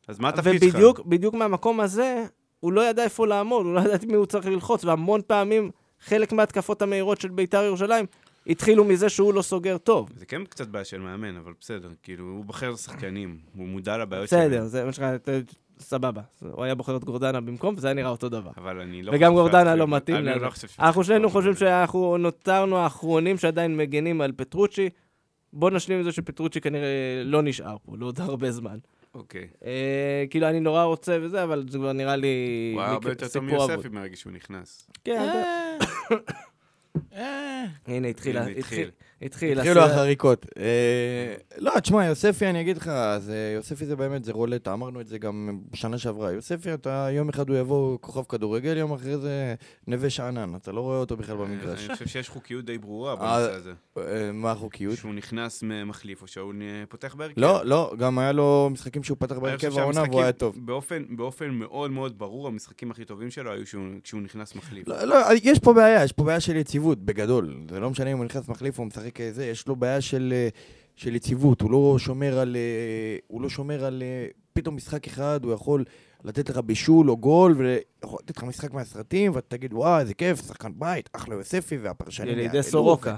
אז מה התפקיד שלך? ובדיוק בדיוק מהמקום הזה, הוא לא ידע איפה לעמוד, הוא לא ידע את מי הוא צריך ללחוץ, והמון פעמים חלק מההתקפות המהירות של בית"ר ירושלים התחילו מזה שהוא לא סוגר טוב. זה כן קצת בעיה של מאמן, אבל בסדר. כאילו, הוא בוחר שחקנים, הוא מודע לבעיות שלהם. בסדר, זה מה שאתה... סבבה. אז הוא היה בוחר את גורדנה במקום, וזה היה נראה אותו דבר. אבל אני לא... וגם חושב גורדנה שאנחנו- לא מתאים אני לנו. לא חושב ש... אנחנו שנינו חושבים שאנחנו נותרנו האחרונים שעדיין מגנים על פטרוצ'י. בוא נשלים את זה שפטרוצ'י כנראה לא נשאר פה לעוד הרבה זמן. אוקיי. אה, כאילו, אני נורא רוצה וזה, אבל זה כבר נראה לי... הוא היה הרבה לי יותר טוב סיפור אבוד. מיוספי מהרגע שהוא נכנס. כן, אתה- אה. הנה, התחיל, הנה, התחיל, התחיל. התחיל. התחילו הסרט. החריקות. אה, לא, תשמע, יוספי, אני אגיד לך, זה, יוספי זה באמת, זה רולטה, אמרנו את זה גם בשנה שעברה. יוספי, אתה, יום אחד הוא יבוא כוכב כדורגל, יום אחרי זה נווה שאנן, אתה לא רואה אותו בכלל במגרש. אני חושב שיש חוקיות די ברורה אה, בנושא הזה. אה, מה החוקיות? שהוא נכנס מחליף או שהוא נ- פותח בהרכב. לא, לא, גם היה לו משחקים שהוא פתח אני חושב בהרכב העונה והוא שהמשחקים- היה טוב. באופן, באופן מאוד מאוד ברור, המשחקים הכי טובים שלו היו שהוא- כשהוא נכנס מחליף. לא, לא, יש פה בעיה, יש פה בעיה של יציבות, בגדול. זה לא משנה אם הוא נכנס מחליף או משחק אה, זה, יש לו בעיה של, אה, של יציבות, הוא לא שומר על... אה, הוא לא שומר על... אה, פתאום משחק אחד, הוא יכול לתת לך בישול או גול, ויכול לתת לך משחק מהסרטים, ואתה תגיד, וואי, איזה כיף, שחקן בית, אחלה יוספי, והפרשנים... ילידי יעלו." סורוקה.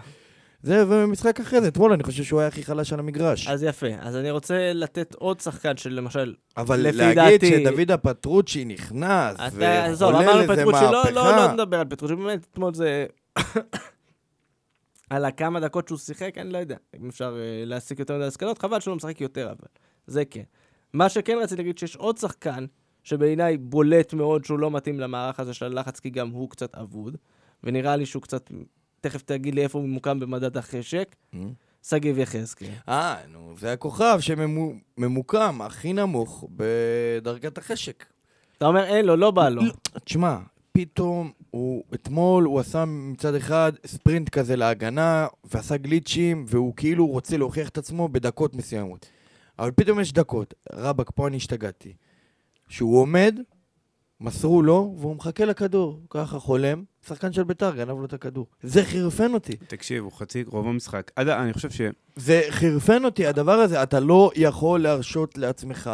זה, ומשחק אחרי זה, אתמול אני חושב שהוא היה הכי חלש על המגרש. אז יפה. אז אני רוצה לתת עוד שחקן שלמשל, אבל לפי להגיד דעתי- שדובידה פטרוצ'י נכנס, אתה, עזוב, וחולל אמרנו איזה פטרוצ'י, לא, מהפכה... לא, לא נדבר על פטרוצ'י, באמת, אתמול זה... על הכמה דקות שהוא שיחק, אני לא יודע אם אפשר אה, להסיק יותר מדי הסקנות, חבל שהוא לא משחק יותר, אבל זה כן. מה שכן רציתי להגיד, שיש עוד שחקן, שבעיניי בולט מאוד שהוא לא מתאים למערך הזה של הלחץ, כי גם הוא קצת אבוד, ונראה לי שהוא קצת, תכף תגיד לי איפה הוא ממוקם במדד החשק, Hmm? שגיב יחזקאל. אה, נו, זה הכוכב שממוקם הכי נמוך בדרגת החשק. אתה אומר, אין לו, לא בא לו. תשמע, פתאום הוא, אתמול הוא עשה מצד אחד ספרינט כזה להגנה, ועשה גליצ'ים, והוא כאילו רוצה להוכיח את עצמו בדקות מסוימות. אבל פתאום יש דקות, רבאק, פה אני השתגעתי. שהוא עומד, מסרו לו, והוא מחכה לכדור. ככה חולם, שחקן של ביתר גנב לו את הכדור. זה חירפן אותי. תקשיב, הוא חצי רוב המשחק. עד, אני חושב ש... זה חרפן אותי, הדבר הזה. אתה לא יכול להרשות לעצמך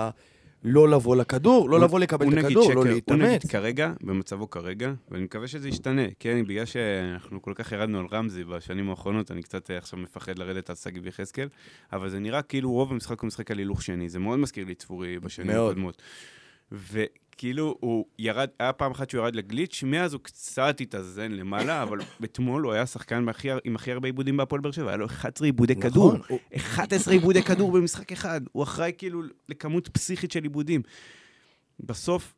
לא לבוא לכדור, לא הוא- לבוא לקבל הוא את נגיד הכדור, לא שקר, הוא נגיד להתאמץ. כרגע, במצבו כרגע, ואני מקווה שזה ישתנה, כן, בגלל שאנחנו כל כך ירדנו על רמזי בשנים האחרונות, אני קצת אה, עכשיו מפחד לרדת על שגיב יחזקאל, אבל זה נראה כאילו רוב המשחק הוא משחק על הילוך שני, זה מאוד מזכיר לי את צפורי בשנים מאוד. הקודמות. וכאילו, הוא ירד, היה פעם אחת שהוא ירד לגליץ', מאז הוא קצת התאזן למעלה, אבל אתמול הוא היה שחקן בהכי הר- עם הכי הרבה עיבודים בהפועל באר שבע, היה לו 11 עיבודי כן, כדור. נכון, הוא- 11 עיבודי כדור במשחק אחד. הוא אחראי כאילו לכמות פסיכית של עיבודים. בסוף,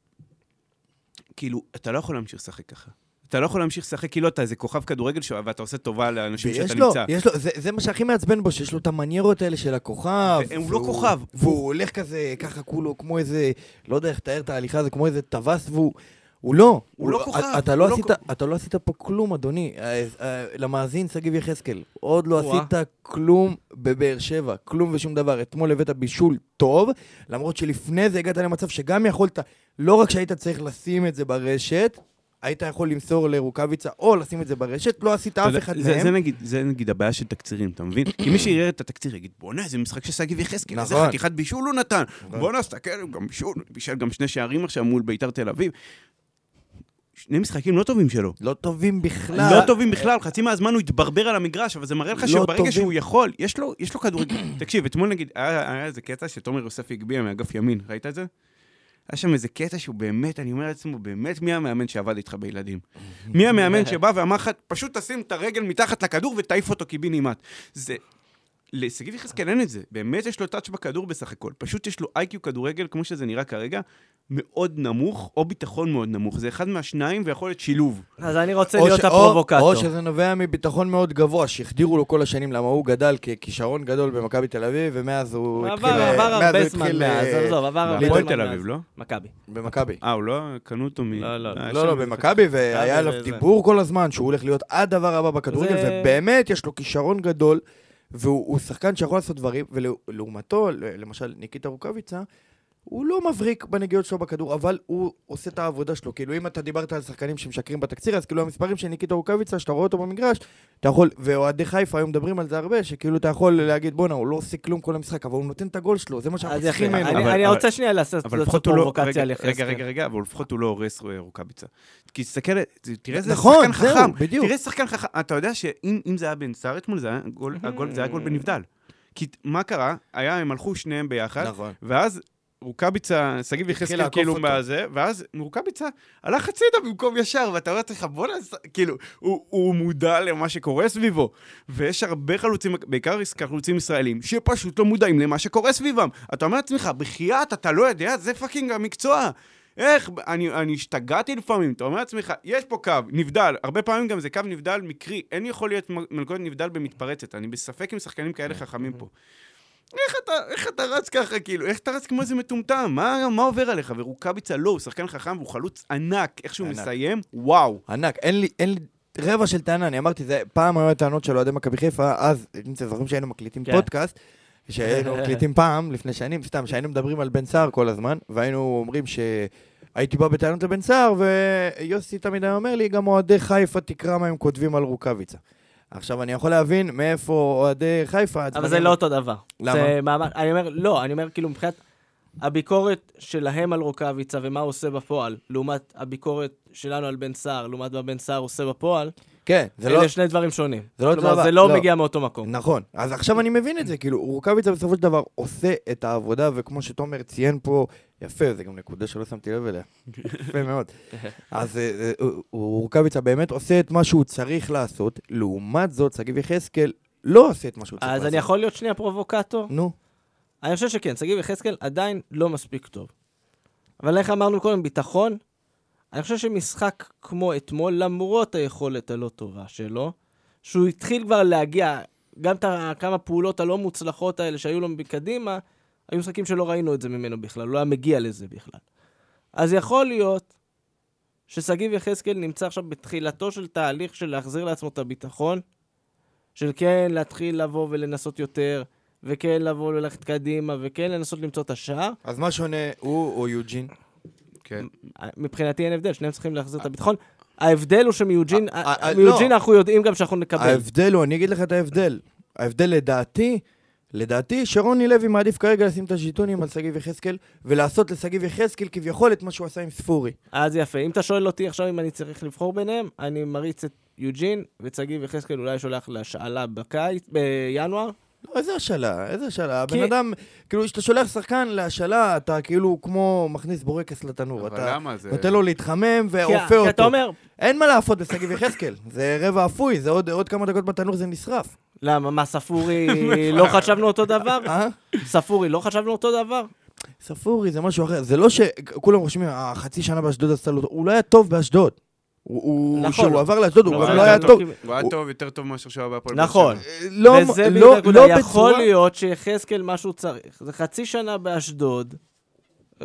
כאילו, אתה לא יכול להמשיך לשחק ככה. אתה לא יכול להמשיך לשחק כאילו אתה איזה כוכב כדורגל ש... ואתה עושה טובה לאנשים ויש שאתה לו, נמצא. יש לו, זה, זה מה שהכי מעצבן בו, שיש לו את המניירות האלה של הכוכב. והוא לא כוכב. והוא הולך כזה, ככה כולו, כמו איזה, לא יודע איך לתאר את ההליכה, זה כמו איזה טווס, והוא... הוא לא, הוא לא כוכב, אתה, הוא לא לא עשית, אתה לא עשית פה כלום, אדוני. אה, אה, למאזין, שגיב יחזקאל, עוד לא וואה. עשית כלום בבאר שבע, כלום ושום דבר. אתמול הבאת בישול טוב, למרות שלפני זה הגעת למצב שגם יכולת, לא רק שהיית צריך לשים את זה ברשת, היית יכול למסור לרוקאביצה או לשים את זה ברשת, לא עשית אתה אף יודע, אחד זה, מהם. זה, נגיד, זה נגיד הבעיה של תקצירים, אתה מבין? כי מי שיראה את התקציר יגיד, בואנה, איזה משחק של שגיב יחזקאל, איזה נכון. חתיכת בישול הוא נתן. נכון. בואנה, סתכל, הוא גם בישול, הוא בישל גם שני שערים עכשיו מול ביתר תל אביב. שני משחקים לא טובים שלו. לא טובים בכלל. לא טובים בכלל, חצי מהזמן הוא התברבר על המגרש, אבל זה מראה לא לך שברגע טובים. שהוא יכול, יש לו, יש לו כדורגל. תקשיב, אתמול נגיד, היה היה איזה קטע שתומר יוספי הגביה מאגף ימין, ראית את זה? היה שם איזה קטע שהוא באמת, אני אומר לעצמו, באמת מי המאמן שעבד איתך בילדים? מי המאמן שבא ואמר לך, פשוט תשים את הרגל מתחת לכדור ותעיף אותו קיבינימט. זה... לשגיב יחזקאל אין את זה, באמת יש לו טאץ' בכדור בסך הכל, פשוט יש לו איי-קיו כדורגל, כמו שזה נראה כרגע, מאוד נמוך, או ביטחון מאוד נמוך, זה אחד מהשניים ויכול להיות שילוב. אז אני רוצה או להיות ש- או- הפרובוקטור. או שזה נובע מביטחון מאוד גבוה, שהחדירו לו כל השנים, למה הוא גדל ככישרון גדול במכבי תל אביב, ומאז הוא עבר התחיל... עבר מאז הוא הרבה זמן התחיל, מאז, אה, עזוב, עבר הרבה זמן בהפועל תל אביב, מאז. לא? מכבי. במכבי. אה, הוא לא? קנו אותו מ... לא, לא, אה, לא, יש לא, שם לא, איזה- במכבי, והיה זה- עליו זה- דיבור כל הזמן, שהוא הולך להיות הדבר הבא בכדורגל, זה- ובאמת יש לו כישרון גדול, והוא הוא שחקן שיכול לעשות דברים, ולעומתו, למשל, ניקיטה רוקאביצה, הוא לא מבריק בנגיעות שלו בכדור, אבל הוא עושה את העבודה שלו. כאילו, אם אתה דיברת על שחקנים שמשקרים בתקציר, אז כאילו המספרים של ניקיטה רוקאביצה, שאתה רואה אותו במגרש, אתה יכול, ואוהדי חיפה היו מדברים על זה הרבה, שכאילו אתה יכול להגיד, בואנה, הוא לא עושה כלום כל המשחק, אבל הוא נותן את הגול שלו, זה מה שאנחנו אז יפה, צריכים ממנו. אני- אבל- אני אבל- רוצה שנייה לעשות אבל לעשות לפחות הוא לא... פרובוקציה רגע, על רגע, יחזקאל. רגע, רגע, אבל לפחות הוא לא הורס אה, רוקאביצה. כי תסתכל, תראה איזה נכון, שחקן זהו, חכם. בדיוק. תראה איזה שחקן חכם. אתה יודע שאם אם זה היה בן סער אתמול, זה היה Mm-hmm. גול- הגול- זה היה גול בנבדל. כי ת- מה קרה? היה, הם הלכו שניהם ביחד, נכון. ואז רוקאביצה, שגיב התחיל יחזקאל לעקוף כאילו אותו. מהזה, ואז רוקאביצה הלך הצידה במקום ישר, ואתה אומר לך, בוא'נה, ס- כאילו, הוא, הוא מודע למה שקורה סביבו. ויש הרבה חלוצים, בעיקר חלוצים ישראלים, שפשוט לא מודעים למה שקורה סביבם. אתה אומר לעצמך, בחייאת, אתה לא יודע, זה פאקינג המקצוע. איך, אני, אני השתגעתי לפעמים, אתה אומר לעצמך, יש פה קו, נבדל, הרבה פעמים גם זה קו נבדל מקרי, אין יכול להיות מ- מלכודת נבדל במתפרצת, אני בספק אם שחקנים כאלה חכמים פה. איך אתה, איך אתה רץ ככה, כאילו? איך אתה רץ כמו איזה מטומטם? מה, מה עובר עליך? ורוקאביצה לא, הוא שחקן חכם והוא חלוץ ענק. איך שהוא ענק. מסיים, וואו. ענק, אין לי, אין לי רבע של טענה, אני אמרתי, זה פעם היו הטענות של אוהדי מכבי חיפה, אז, אם אתם זוכרים שהיינו מקליטים כן. פודקאסט, שהיינו מקליטים פעם, לפני שנים, סתם, שהיינו מדברים על בן סער כל הזמן, והיינו אומרים שהייתי בא בטענות לבן סער, ויוסי תמיד היה אומר לי, גם אוהדי חיפה תקרא מה הם כותבים על רוקאביצה. עכשיו, אני יכול להבין מאיפה אוהדי חיפה... אבל הדברים- זה לא אותו דבר. למה? זה מעמד, אני אומר, לא, אני אומר כאילו מבחינת הביקורת שלהם על רוקאביצה ומה הוא עושה בפועל, לעומת הביקורת שלנו על בן סער, לעומת מה בן סער עושה בפועל, כן, זה לא... אלה שני דברים שונים. זה לא אותו כלומר, דבר, זה לא לא. מגיע מאותו מקום. נכון, אז עכשיו אני מבין את זה, כאילו, רוקאביצה בסופו של דבר עושה את העבודה, וכמו שתומר ציין פה, יפה, זה גם נקודה שלא שמתי לב אליה. יפה מאוד. אז אה, אה, הוא- הוא- רוקאביצה באמת עושה את מה שהוא צריך לעשות, לעומת זאת, שגיב יחזקאל לא עושה את מה שהוא צריך לעשות. אז אני יכול להיות שנייה פרובוקטור? נו, אני חושב שכן, שגיב יחזקאל עדיין לא מספיק טוב. אבל איך אמרנו קודם, ביטחון? אני חושב שמשחק כמו אתמול, למרות היכולת הלא טובה שלו, שהוא התחיל כבר להגיע, גם את ה- כמה פעולות הלא מוצלחות האלה שהיו לו מקדימה, היו משחקים שלא ראינו את זה ממנו בכלל, לא היה מגיע לזה בכלל. אז יכול להיות ששגיב יחזקאל נמצא עכשיו בתחילתו של תהליך של להחזיר לעצמו את הביטחון, של כן להתחיל לבוא ולנסות יותר, וכן לבוא וללכת קדימה, וכן לנסות למצוא את השער. אז מה שונה הוא או יוג'ין? כן. מבחינתי אין הבדל, שניהם צריכים להחזיר את הביטחון. ההבדל הוא שמיוג'ין, אה, אה, מיוג'ין לא. אנחנו יודעים גם שאנחנו נקבל. ההבדל הוא, אני אגיד לך את ההבדל. ההבדל לדעתי, לדעתי שרוני לוי מעדיף כרגע לשים את הז'יטונים על שגיב יחזקאל, ולעשות לשגיב יחזקאל כביכול את מה שהוא עשה עם ספורי. אז יפה, אם אתה שואל אותי עכשיו אם אני צריך לבחור ביניהם, אני מריץ את יוג'ין, וצגיב יחזקאל אולי שולח להשאלה בקיץ, בינואר. לא, איזה השאלה? איזה השאלה? הבן כי- אדם, כאילו, כשאתה שולח שחקן להשאלה, אתה כאילו כמו מכניס בורקס לתנור. אבל אתה למה זה... נותן לו להתחמם ואופה כי אתה אותו. אומר, אין מה להפות בשגיב יחזקאל, זה רבע אפוי, זה עוד עוד כמה דקות בתנור זה נשרף. למה, מה, ספורי לא חשבנו אותו דבר? נכון. אה? ספורי לא חשבנו אותו דבר? ספורי זה משהו אחר, זה לא שכולם רושמים, החצי "אה, שנה באשדוד עשתה לו, הוא לא היה טוב באשדוד. הוא- הוא, נכון. כשהוא עבר לאשדוד הוא אבל גם הוא לא היה היה טוב. טוב. הוא היה הוא- טוב, יותר טוב מאשר שהוא היה בהפועל. נכון. באר שבע. לא, וזה בדיוק לא, הנקודה. לא יכול בצורה... להיות שיחזקאל מה שהוא צריך. זה חצי שנה באשדוד,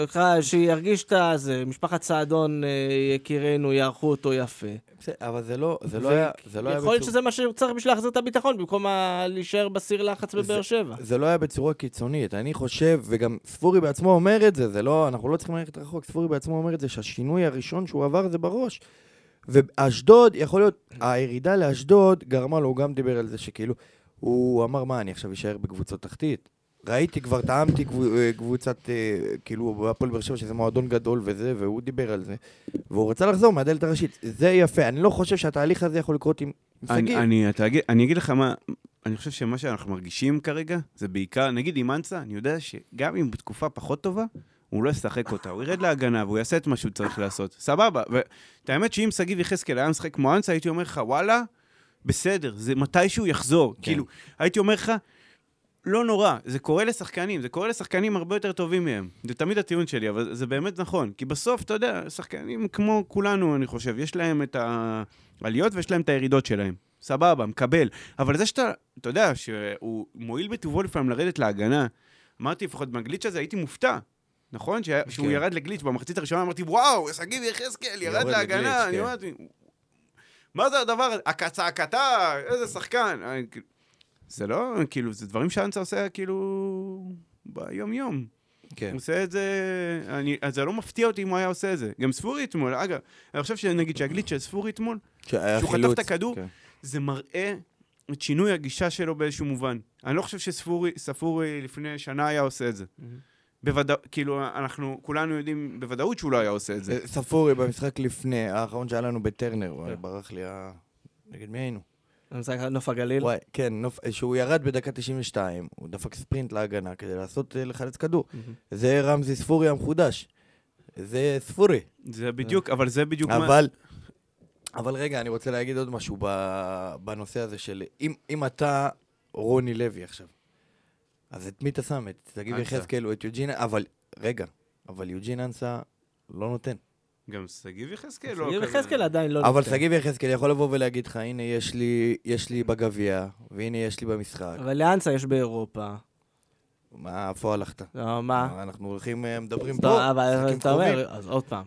ח- שירגיש את הזה, משפחת סעדון, אה, יקירנו, יערכו אותו יפה. בסדר, אבל זה לא זה לא זה- היה זה לא היה יכול להיות בצורה... שזה מה שהוא צריך בשביל להחזיר את הביטחון, במקום ה- להישאר בסיר לחץ בבאר שבע. זה לא היה בצורה קיצונית, אני חושב, וגם ספורי בעצמו אומר את זה, זה לא, אנחנו לא צריכים ללכת רחוק, ספורי בעצמו אומר את זה, שהשינוי הראשון שהוא עבר זה בראש. ואשדוד, יכול להיות, הירידה לאשדוד גרמה לו, הוא גם דיבר על זה שכאילו, הוא אמר, מה, אני עכשיו אשאר בקבוצות תחתית? ראיתי כבר, טעמתי קבו- אה, קבוצת, אה, כאילו, בהפועל באר שבע, שזה מועדון גדול וזה, והוא דיבר על זה. והוא רצה לחזור מהדלת הראשית. זה יפה, אני לא חושב שהתהליך הזה יכול לקרות עם עם אני, שגיב. אני, אתה אגיד, אני אגיד לך מה, אני חושב שמה שאנחנו מרגישים כרגע, זה בעיקר, נגיד עם אנסה, אני יודע שגם אם בתקופה פחות טובה, הוא לא ישחק אותה, הוא ירד להגנה והוא יעשה את מה שהוא צריך לעשות, סבבה. ואת האמת שאם שגיב יחזקאל היה משחק כמו אנסה, הייתי אומר לך, וואלה, בסדר, זה מתי שהוא יחזור. כן. כאילו, הייתי אומר לך, לא נורא, זה קורה לשחקנים, זה קורה לשחקנים הרבה יותר טובים מהם. זה תמיד הטיעון שלי, אבל זה באמת נכון. כי בסוף, אתה יודע, שחקנים כמו כולנו, אני חושב, יש להם את העליות ויש להם את הירידות שלהם. סבבה, מקבל. אבל זה שאתה, אתה יודע, שהוא מועיל בטובו לפעמים לרדת להגנה, אמרתי, לפחות בגליץ' הזה הייתי מופתע. נכון? שה- שהוא כן. ירד לגליץ' במחצית הראשונה, אמרתי, וואו, שגיב יחזקאל ירד יורד לגליץ', להגנה, אני כן. אמרתי, מה זה הדבר הזה? הצעקתה, איזה שחקן. אני- זה לא, כאילו, זה דברים שאנסה עושה, כאילו, ביום-יום. כן. הוא עושה את זה, אני, אז זה לא מפתיע אותי אם הוא היה עושה את זה. גם ספורי אתמול, אגב, אני חושב שנגיד שהגליץ' של ספורי אתמול, שהיה כשהוא חילוץ, חטף את הכדור, כן. זה מראה את שינוי הגישה שלו באיזשהו מובן. אני לא חושב שספורי ספורי לפני שנה היה עושה את זה. בוודאות, כאילו, אנחנו כולנו יודעים בוודאות שהוא לא היה עושה את זה. זה כן. ספורי במשחק לפני, האחרון שהיה לנו בטרנר, הוא ברח לי ה... נגד מי היינו? המשחק נוף כאילו- הגליל. וואי, כן, נופ... שהוא ירד בדקה 92, הוא דפק ספרינט להגנה כדי לעשות, אה, לחלץ כדור. מהמם. זה רמזי ספורי המחודש. זה ספורי. זה בדיוק, אבל זה בדיוק מה... אבל... אבל רגע, אני רוצה להגיד עוד משהו ב- בנושא הזה של אם, אם אתה רוני לוי עכשיו, אז את מי אתה שם? את תגיד אנסה. יחזקאל או את יוג'ין... אבל, רגע, אבל יוג'ין אנסה לא נותן. גם שגיב יחזקאל לא... שגיב כזה- יחזקאל עדיין לא... אבל נותן. שגיב יחזקאל יכול לבוא ולהגיד לך, הנה יש לי, יש לי בגביע, והנה יש לי במשחק. אבל לאנסה יש באירופה. מה, איפה הלכת? לא, מה? אנחנו הולכים, אה, מדברים אז פה, אתה- אבל משחקים אתה קרובים. אומר, אז עוד פעם,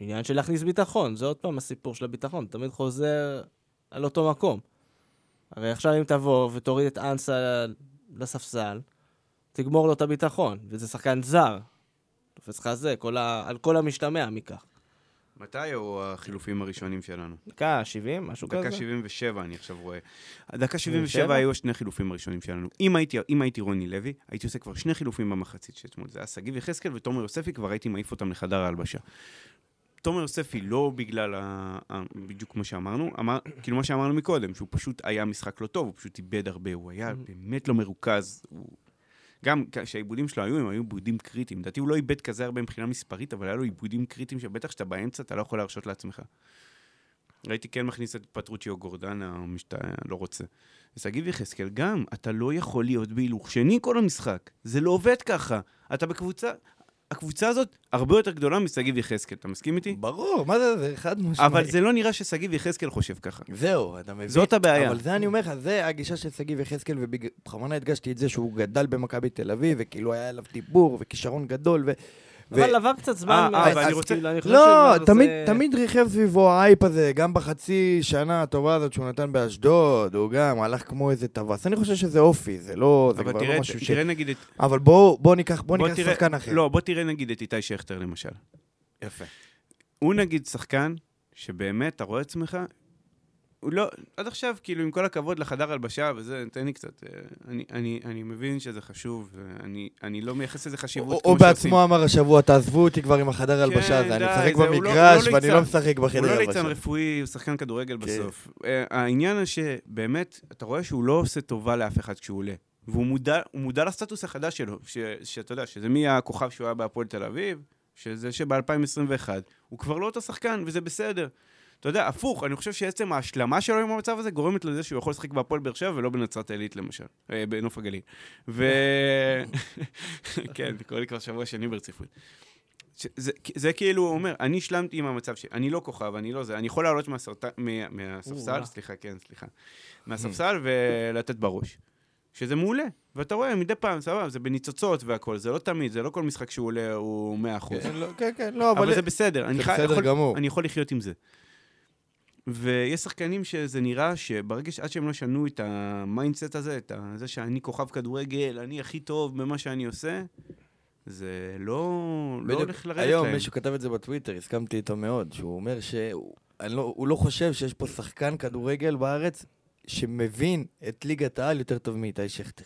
עניין של להכניס ביטחון, זה עוד פעם הסיפור של הביטחון, תמיד חוזר על אותו מקום. הרי עכשיו אם תבוא ותוריד את אנסה לספסל, תגמור לו את הביטחון, וזה שחקן זר. תופס לך זה, כל ה- על כל המשתמע מכך. מתי היו החילופים הראשונים שלנו? דקה 70, משהו כזה. דקה 77 אני עכשיו רואה. דקה 77 77? היו השני חילופים הראשונים שלנו. אם הייתי, אם הייתי רוני לוי, הייתי עושה כבר שני חילופים במחצית של אתמול. זה היה שגיב יחזקאל ותומר יוספי, כבר הייתי מעיף אותם לחדר ההלבשה. תומר יוספי לא בגלל, ה... ה- בדיוק כמו שאמרנו, אמר, כאילו מה שאמרנו מקודם, שהוא פשוט היה משחק לא טוב, הוא פשוט איבד הרבה, הוא היה Mm. באמת לא מרוכז. הוא... גם כשהעיבודים שלו היו, הם היו עיבודים קריטיים. לדעתי הוא לא איבד כזה הרבה מבחינה מספרית, אבל היה לו עיבודים קריטיים שבטח כשאתה באמצע אתה לא יכול להרשות לעצמך. הייתי כן מכניס את פטרוצ'י או גורדנה, או מי שאתה לא רוצה. שגיב יחזקאל, גם, אתה לא יכול להיות בהילוך שני כל המשחק. זה לא עובד ככה. אתה בקבוצה... הקבוצה הזאת הרבה יותר גדולה משגיב יחזקאל, אתה מסכים איתי? ברור, מה זה, זה חד משמעי. אבל זה לא נראה ששגיב יחזקאל חושב ככה. זהו, אתה מבין? זאת הבעיה. אבל זה אני אומר לך, זה הגישה של שגיב יחזקאל, ובכוונה הדגשתי את זה שהוא גדל במכבי תל אביב, וכאילו היה עליו דיבור, וכישרון גדול, ו... ו- אבל עבר קצת זמן. אה, מאז, אה, אבל אז אני רוצה- כאילו, אני חושב לא, שכבר תמיד, זה- תמיד ריחב סביבו האייפ הזה, גם בחצי שנה הטובה הזאת שהוא נתן באשדוד, הוא גם הלך כמו איזה טווס. אני חושב שזה אופי, זה לא, זה אבל כבר תראה, לא משהו ש... תראה נגיד את... אבל בואו בוא ניקח, בוא ניקח תראה- שחקן אחר. לא, בוא תראה נגיד את איתי שכטר למשל. יפה. הוא נגיד שחקן שבאמת, אתה רואה עצמך, הוא לא, עד עכשיו, כאילו, עם כל הכבוד לחדר הלבשה וזה, תן לי קצת, אה, אני, אני, אני מבין שזה חשוב, ואני אני לא מייחס לזה הוא, חשיבות הוא כמו בעצמו אמר השבוע, תעזבו אותי כבר עם החדר הלבשה כן, הזה, אני די, משחק זהו, הוא לא- במגרש הוא לא ואני לא ליצן. משחק הוא בחדר לא ליצן הלבשה. רפואי, הוא שחקן כדורגל כן. בסוף. אה, העניין שבאמת, אתה רואה שהוא לא עושה טובה לאף אחד כשהוא עולה. והוא מודע, הוא מודע לסטטוס החדש שלו, ש, שאתה יודע, שזה מי הכוכב שהוא היה בהפועל תל אביב, שזה שב-2021, הוא כבר לא אותו שחקן, וזה בסדר. אתה יודע, הפוך, אני חושב שעצם ההשלמה שלו עם המצב הזה גורמת לזה שהוא יכול לשחק בהפועל באר שבע ולא בנצרת עילית למשל, אה, בנוף הגליל. ו... כן, זה קורה לי כבר שבוע שני ברציפות. ש- זה, זה כאילו, הוא אומר, אני השלמתי עם המצב שלי, אני לא כוכב, אני לא זה, אני יכול לעלות מהסרט... מה, מהספסל, אוה. סליחה, כן, סליחה, מהספסל ולתת בראש. שזה מעולה, ואתה רואה, מדי פעם, סבבה, זה בניצוצות והכול, זה לא תמיד, זה לא כל משחק שהוא עולה הוא 100%. כן, לא, כן, כן, לא, אבל אבל... זה בסדר, אני זה חי- בסדר יכול- גמור. אני יכול לחיות עם זה. ויש שחקנים שזה נראה שברגע שעד שהם לא שנו את המיינדסט הזה, את ה- זה שאני כוכב כדורגל, אני הכי טוב במה שאני עושה, זה לא, לא בדיוק. הולך לרדת היום להם. מישהו כתב את זה בטוויטר, הסכמתי איתו מאוד, שהוא אומר שהוא אני לא, הוא לא חושב שיש פה שחקן כדורגל בארץ שמבין את ליגת העל יותר טוב מאיתי שכטר.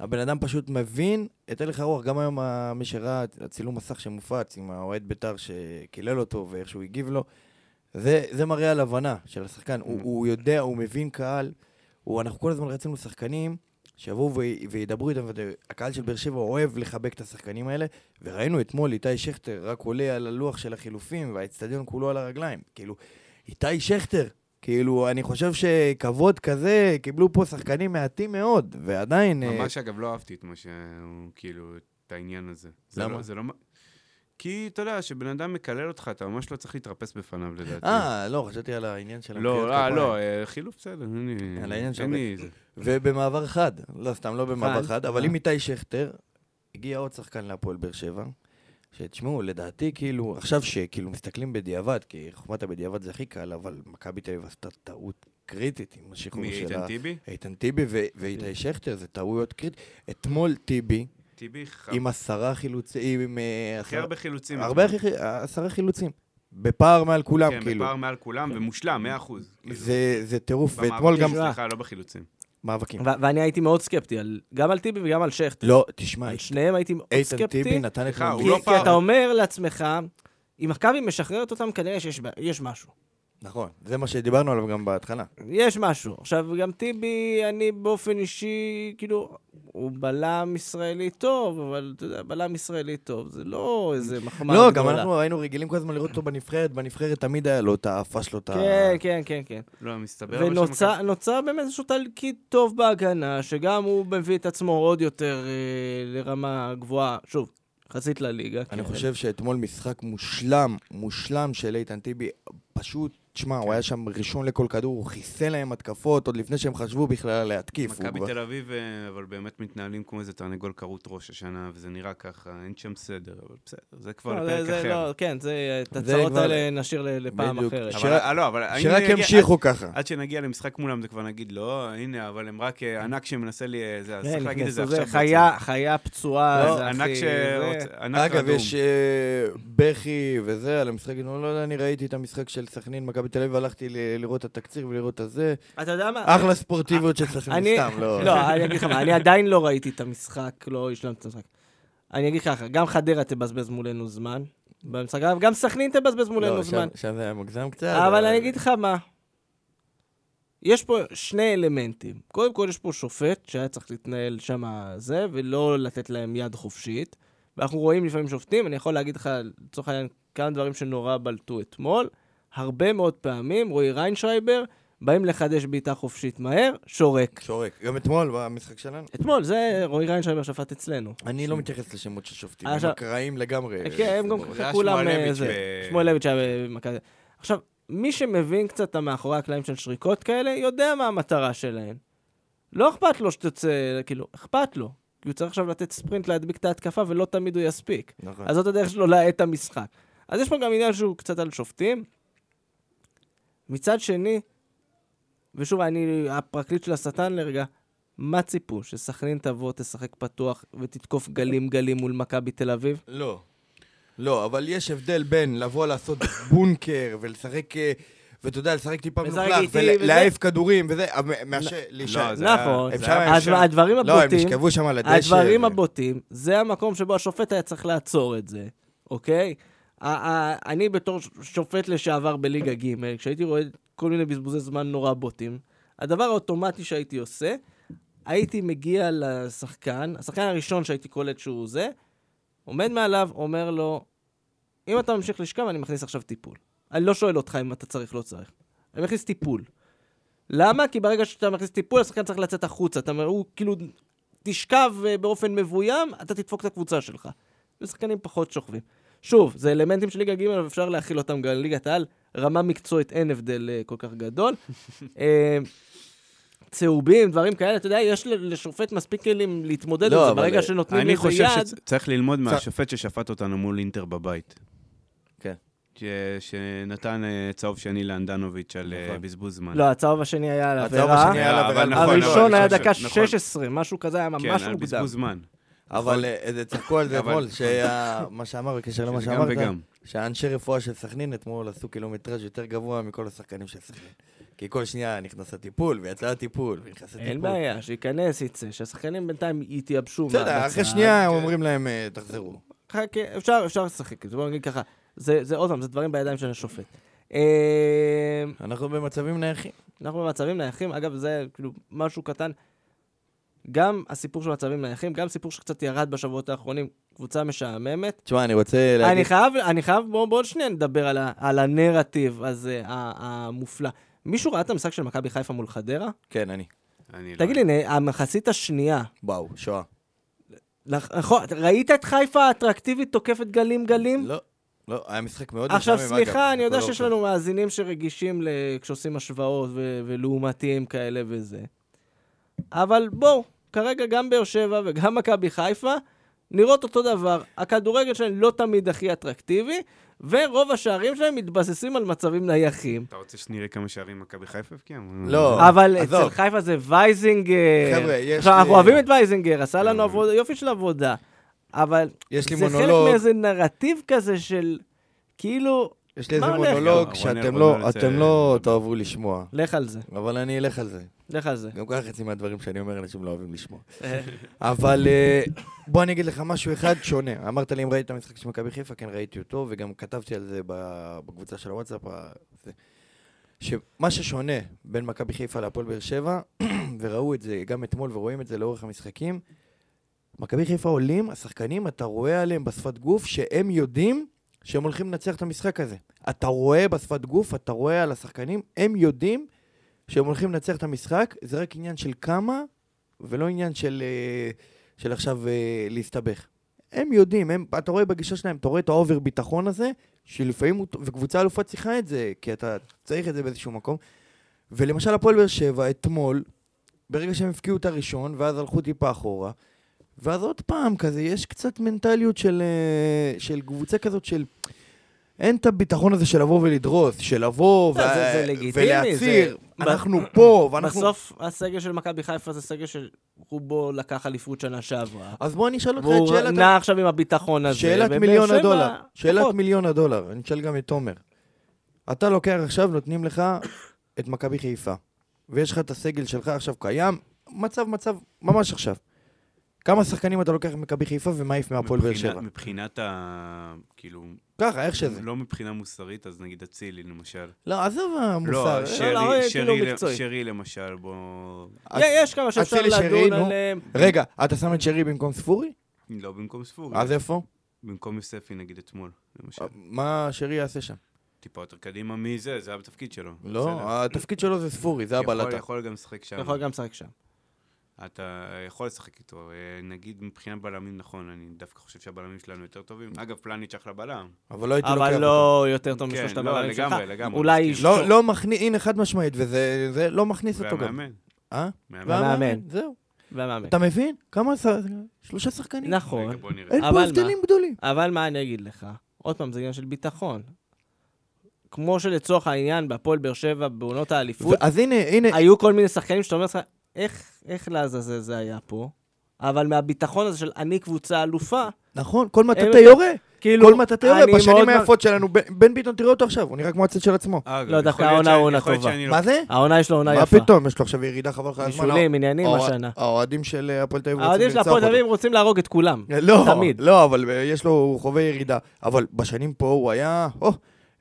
הבן אדם פשוט מבין את הלך הרוח, גם היום ה- מי שראה את הצילום מסך שמופץ עם האוהד בית"ר שקילל אותו ואיך שהוא הגיב לו, זה, זה מראה על הבנה של השחקן. הוא, Mm. הוא יודע, הוא מבין קהל, הוא, אנחנו כל הזמן רצינו שחקנים שיבואו ו- וידברו איתם, והקהל של באר שבע אוהב לחבק את השחקנים האלה, וראינו אתמול איתי שכטר רק עולה על הלוח של החילופים, והאצטדיון כולו על הרגליים. כאילו, איתי שכטר, כאילו, אני חושב שכבוד כזה קיבלו פה שחקנים מעטים מאוד, ועדיין... אה, ממש, אגב, לא אהבתי את מה שהוא, כאילו, את העניין הזה. זה למה? לא- זה לא... מה- כי אתה יודע, כשבן אדם מקלל אותך, אתה ממש לא צריך להתרפס בפניו, לדעתי. אה, לא, חשבתי על העניין של המחיאות לא, אה, כפיים. לא, אה, חילוף בסדר, אין לי... על העניין של אין הבן. לי זה. ובמעבר חד, לא סתם, לא במעבר חד, חד, אבל אה. עם איתי שכטר, הגיע עוד שחקן להפועל באר שבע, שתשמעו, לדעתי, כאילו, עכשיו שכאילו מסתכלים בדיעבד, כי חוכמת הבדיעבד זה הכי קל, אבל מכבי תל אביב עשתה טעות קריטית עם השחרור מי, שלה. איתן טיבי? איתן טיבי ו- כן. ואיתי שכטר, זה טעויות קריטיות. אתמול טיבי, טיבי ח- עם עשרה חילוצים, עם אה, הכי עשרה- הרבה חילוצים. הרבה הכי חי- עשרה חילוצים, בפער מעל כולם, כן, כאילו. בפער מעל כולם, ומושלם, 100%. כאילו, זה זה טירוף, במאבקים, ואתמול גם תשמע. סליחה, לא בחילוצים. מאבקים. ו- ואני הייתי מאוד סקפטי, על- גם על טיבי וגם על שכטר. לא, תשמע, על שניהם הייתי מאוד איתן טיבי סקפטי. נתן את סליחה, הוא כי, לא כי פאול. אתה אומר לעצמך, אם מכבי משחררת אותם, כנראה שיש ב- יש משהו. נכון, זה מה שדיברנו עליו גם בהתחלה. יש משהו. עכשיו, גם טיבי, אני באופן אישי, כאילו, הוא בלם ישראלי טוב, אבל אתה יודע, בלם ישראלי טוב, זה לא איזה מחמאה לא, גם גדולה. אנחנו היינו רגילים כל הזמן לראות אותו בנבחרת, בנבחרת תמיד היה לו את העפה שלו, את ה... כן, כן, כן, כן. לא, מסתבר... אבל שמכבי- ונוצר באמת איזשהו תלקיד טוב בהגנה, שגם הוא מביא את עצמו עוד יותר אה, לרמה גבוהה, שוב, יחסית לליגה. אני כן. חושב שאתמול משחק מושלם, מושלם של איתן טיבי. פשוט, תשמע, כן. הוא היה שם ראשון לכל כדור, הוא חיסל להם התקפות עוד לפני שהם חשבו בכלל על להתקיף. הוא מכבי כבר- תל אביב, אה, אבל באמת מתנהלים כמו איזה תרנגול כרות ראש השנה, וזה נראה ככה, אין שם סדר, אבל בסדר, זה כבר לא, לפרק זה- זה אחר. לא, כן, זה, את הצרות כבר- האלה נשאיר ל- לפעם בדיוק. אחרת. ש- אבל, אה, לא, אבל... האם שרק נגיע- ימשיכו ככה. עד שנגיע למשחק מולם זה כבר נגיד, לא, הנה, אבל הם רק אה, ענק שמנסה לי... אה, זה, אז כן, צריך להגיד את זה נכנסו, עכשיו. זה בעצם. חיה, חיה לא, פצועה, זה ענק הכי... ש... זה- ענק אגב, רדום. יש אה, בכי וזה על המשחק, אני לא יודע, אני ראיתי את המשחק של סכנין, מכבי תל אביב, הלכתי ל- לראות את התקציר ולראות את הזה. אתה יודע מה? אחלה ספורטיביות של סכנין, אני- סתם, לא. לא, אני אגיד לך מה, אני עדיין לא ראיתי את המשחק, לא השלמתי את המשחק. אני אגיד לך ככה, גם חדרה תבזבז מולנו זמן במשחק, אבל גם סכנין תבזבז מולנו לא, שם- זמן. שם זה היה מוגזם קצת. אבל אני אגיד לך מה, יש פה שני אלמנטים. קודם כל, יש פה שופט שהיה צריך להתנהל שם זה, ולא לתת להם יד חופשית. ואנחנו רואים לפעמים שופטים, אני יכול להגיד לך, לצורך העניין, כמה דברים שנורא בלטו אתמול. הרבה מאוד פעמים, רועי ריינשרייבר, באים לחדש בעיטה חופשית מהר, שורק. שורק. גם אתמול במשחק שלנו. אתמול, זה רועי ריינשרייבר שפט אצלנו. אני לא מתייחס לשמות של שופטים, אה, הם עכשיו- אקראיים לגמרי. נכון. כן, הם גם סבבה. אה, זה היה כולם... אה, שמואלביץ' זה. ב- שמואלביץ' היה במכבי. עכשיו, מי שמבין קצת את המאחורי הקלעים של שריקות כאלה, יודע מה המטרה שלהן. לא אכפת לו שתצא, כאילו, אכפת לו. כי הוא צריך עכשיו לתת ספרינט להדביק את ההתקפה, ולא תמיד הוא יספיק. נכון. אז זאת הדרך שלו להאט את המשחק. אז יש פה גם עניין שהוא קצת על שופטים. מצד שני, ושוב, אני הפרקליט של השטן לרגע, מה ציפו? שסכנין תבוא, תשחק פתוח ותתקוף גלים גלים מול מכבי תל אביב? לא. לא, אבל יש הבדל בין לבוא לעשות בונקר ולשחק, אה, ואתה יודע, לשחק טיפה לשחק מלוכלך, איטי וזה. ולהעיף כדורים וזה, אבל מאשר להישאר. זה- היה- נכון. אפשר היה אז להישאר. הדברים לא, הם הבוטים, נשכבו שם על הדשא. אה, הדברים ו- הבוטים, זה המקום שבו השופט היה צריך לעצור את זה, אוקיי? ה- ה- אני בתור ש- שופט לשעבר בליגה ג', כשהייתי רואה כל מיני בזבוזי זמן נורא בוטים, הדבר האוטומטי שהייתי עושה, הייתי מגיע לשחקן, השחקן הראשון שהייתי קולט שהוא זה, עומד מעליו, אומר לו, אם אתה ממשיך לשכב, אני מכניס עכשיו טיפול. אני לא שואל אותך אם אתה צריך, לא צריך. אני מכניס טיפול. למה? כי ברגע שאתה מכניס טיפול, השחקן צריך לצאת החוצה. אתה, אומר, הוא כאילו, תשכב אה, באופן מבוים, אתה תדפוק את הקבוצה שלך. ושחקנים פחות שוכבים. שוב, זה אלמנטים של ליגה ג' אבל אפשר להכיל אותם גם לליגת העל. רמה מקצועית אין הבדל אה, כל כך גדול. אה, צהובים, דברים כאלה, אתה יודע, יש ל- לשופט מספיק כלים להתמודד לא, עם זה. אבל, ברגע אה, שנותנים אני לזה חושב יד... שצריך ללמוד מהשופט ששפט אותנו מול אינטר בבית. כן. ש- שנתן אה, צהוב שני לאנדנוביץ' על אה, נכון. בזבוז זמן. לא, הצהוב השני היה על הצהוב עבירה. השני היה על אבל עבירה. נכון, הראשון נכון, היה נכון, דקה נכון. 16, משהו כזה היה כן, ממש על מוקדם. בזבוז זמן. אבל אה, זה צחקו על זה אבל- אתמול, שהיה מה שאמר בקשר למה שזה גם שאמרת, וגם. שהאנשי רפואה של סכנין אתמול עשו קילומטראז' יותר גבוה מכל השחקנים של סכנין. כי כל שנייה נכנס הטיפול, ויצא הטיפול, ונכנס הטיפול. אין בעיה, שייכנס, יצא, שהשחקנים בינתיים יתייבשו. בסדר, מהבצד. אחרי שנייה הם אומרים להם, אה, תחזרו. חכה, אפשר אפשר לשחק, בוא נגיד ככה. זה זה עוד פעם, זה דברים בידיים של השופט. אה, אנחנו במצבים נייחים. אנחנו במצבים נייחים, אגב, זה כאילו משהו קטן. גם הסיפור של מצבים נייחים, גם סיפור שקצת ירד בשבועות האחרונים, קבוצה משעממת. תשמע, אני רוצה להגיד... אני חייב, אני חייב, בואו בוא עוד שנייה נדבר על, ה, על הנרטיב הזה, ה- המופלא. מישהו ראה את המשחק של מכבי חיפה מול חדרה? כן, אני. אני לא- תגיד לי, נה, המחצית השנייה, וואו, שואה. נכ- נכון, ראית את חיפה האטרקטיבית תוקפת גלים גלים? לא, לא, היה משחק מאוד עכשיו, משעמם, סליחה, אגב. אני יודע הכל שיש לא לנו מאזינים שרגישים ל- כשעושים השוואות ו- ולעומתיים כאלה וזה. אבל בואו, כרגע גם באר שבע וגם מכבי חיפה נראות אותו דבר. הכדורגל שלהם לא תמיד הכי אטרקטיבי, ורוב השערים שלהם מתבססים על מצבים נייחים. אתה רוצה שנראה כמה שערים מכבי חיפה הבקיעה? לא. טוב, אבל עזוב. אצל חיפה זה וייזינגר. חבר'ה, יש עכשיו, לי- אה. אנחנו אוהבים את וייזינגר, עשה לנו עבודה, יופי של עבודה. אבל יש לי זה חלק מונולוג. מאיזה נרטיב כזה של כאילו, יש לי איזה מה הולך? מונולוג לא, שאתם רונן, לא, רונן זה- אתם לא תאהבו לשמוע, לך על זה, אבל אני אלך על זה. לך על זה. גם ככה חצי מהדברים שאני אומר אנשים לא אוהבים לשמוע. אבל אה, בוא אני אגיד לך משהו אחד שונה. אמרת לי אם ראית את המשחק של מכבי חיפה, כן ראיתי אותו, וגם כתבתי על זה ב- בקבוצה של הוואטסאפ. ה- זה. שמה ששונה בין מכבי חיפה להפועל באר שבע, וראו את זה גם אתמול ורואים את זה לאורך המשחקים, מכבי חיפה עולים, השחקנים, אתה רואה עליהם בשפת גוף שהם יודעים שהם הולכים לנצח את המשחק הזה. אתה רואה בשפת גוף, אתה רואה על השחקנים, הם יודעים שהם הולכים לנצח את המשחק, זה רק עניין של כמה, ולא עניין של, אה, של עכשיו אה, להסתבך. הם יודעים, הם, אתה רואה בגישה שלהם, אתה רואה את האובר ביטחון הזה, שלפעמים, הוא- וקבוצה אלופה צריכה את זה, כי אתה צריך את זה באיזשהו מקום. ולמשל, הפועל באר שבע, אתמול, ברגע שהם הפקיעו את הראשון, ואז הלכו טיפה אחורה, ואז עוד פעם, כזה, יש קצת מנטליות של, אה, של קבוצה כזאת של... אין את הביטחון הזה של לבוא ולדרוס, של לבוא לא, זה- זה לגיטימי, ולהצהיר, זה- אנחנו פה, ואנחנו... בסוף הסגל של מכבי חיפה זה סגל שרובו לקח אליפות שנה שעברה. אז בוא אני אשאל אותך את והוא שאלת... נע עכשיו עם הביטחון הזה. נכון. שאלת ובאר מיליון שבע, הדולר. שאלת פחות. מיליון הדולר, אני אשאל גם את תומר. אתה לוקח עכשיו, נותנים לך את מכבי חיפה, ויש לך את הסגל שלך עכשיו קיים, מצב, מצב, ממש עכשיו. כמה שחקנים אתה לוקח ממכבי חיפה ומעיף מהפועל באר מבחינה- שבע? מבחינת ה... כאילו, ככה, איך שזה. לא מבחינה מוסרית, אז נגיד אצילי, למשל. לא, עזוב המוסר. לא, לא, לא, שרי, כאילו שרי, מקצועי. שרי למשל, בוא... יש כמה שאפשר אצילי, שרי, לדון נו. עליהם. אה, רגע, אתה שם את שרי במקום ספורי? לא במקום ספורי, אז איפה? במקום יוספי נגיד אתמול, אה. למשל. מה שרי יעשה שם? טיפה יותר קדימה מזה, זה היה בתפקיד שלו. בסדר. לא, התפקיד שלו זה ספורי, זה יכול- הבלטה. יכול גם לשחק שם. אתה יכול גם לשחק שם. אתה יכול לשחק איתו. אה, נגיד מבחינת בלמים, נכון, אני דווקא חושב שהבלמים שלנו יותר טובים. אגב, פלניץ' אחלה בלם. אבל לא הייתי לוקח אבל אותו. לא יותר טוב כן, משלושת לא, הבלמים שלך. לגמרי, לגמרי, אולי מסכים. לא, לא מכניס, הנה חד משמעית, וזה זה לא מכניס אותו גם. והמאמן. אה? מאמן. והמאמן. זהו. והמאמן. אתה מבין? כמה ש... שלושה שחקנים. רגע, נכון. בוא נראה. אין אבל פה מה? הבדלים גדולים. אבל מה אני אגיד לך? עוד פעם, זה עניין של ביטחון. כמו שלצורך העניין, בהפועל באר שבע, בעונות האליפות, אז הנה, הנה, היו כל מיני שחקנים שאתה אומר לך, איך, איך לעזאזל זה היה פה? אבל מהביטחון הזה של אני קבוצה אלופה, נכון, כל מטאטא הם- יורה. כאילו, כל מטאטא יורה. אני מאוד בשנים מע- היפות שלנו, בן- בן ביטון, תראה אותו עכשיו, הוא נראה כמו הצד של עצמו. אגב, לא, יכול דווקא להיות העונה שאני- עונה יכול להיות טובה. שאני לא- מה זה? העונה יש לו עונה מה אה, יפה. פתאום? יש לו עכשיו ירידה חבל לך על הזמן. בישולים, עניינים, האוה- השנה. האוהדים של אה, הפועל תל אביב רוצים האוהדים של לרצוח הפועל תל אותו. אביב רוצים להרוג את כולם. לא, תמיד. לא, אבל אה, יש לו, הוא חווה ירידה. אבל בשנים פה הוא היה, או,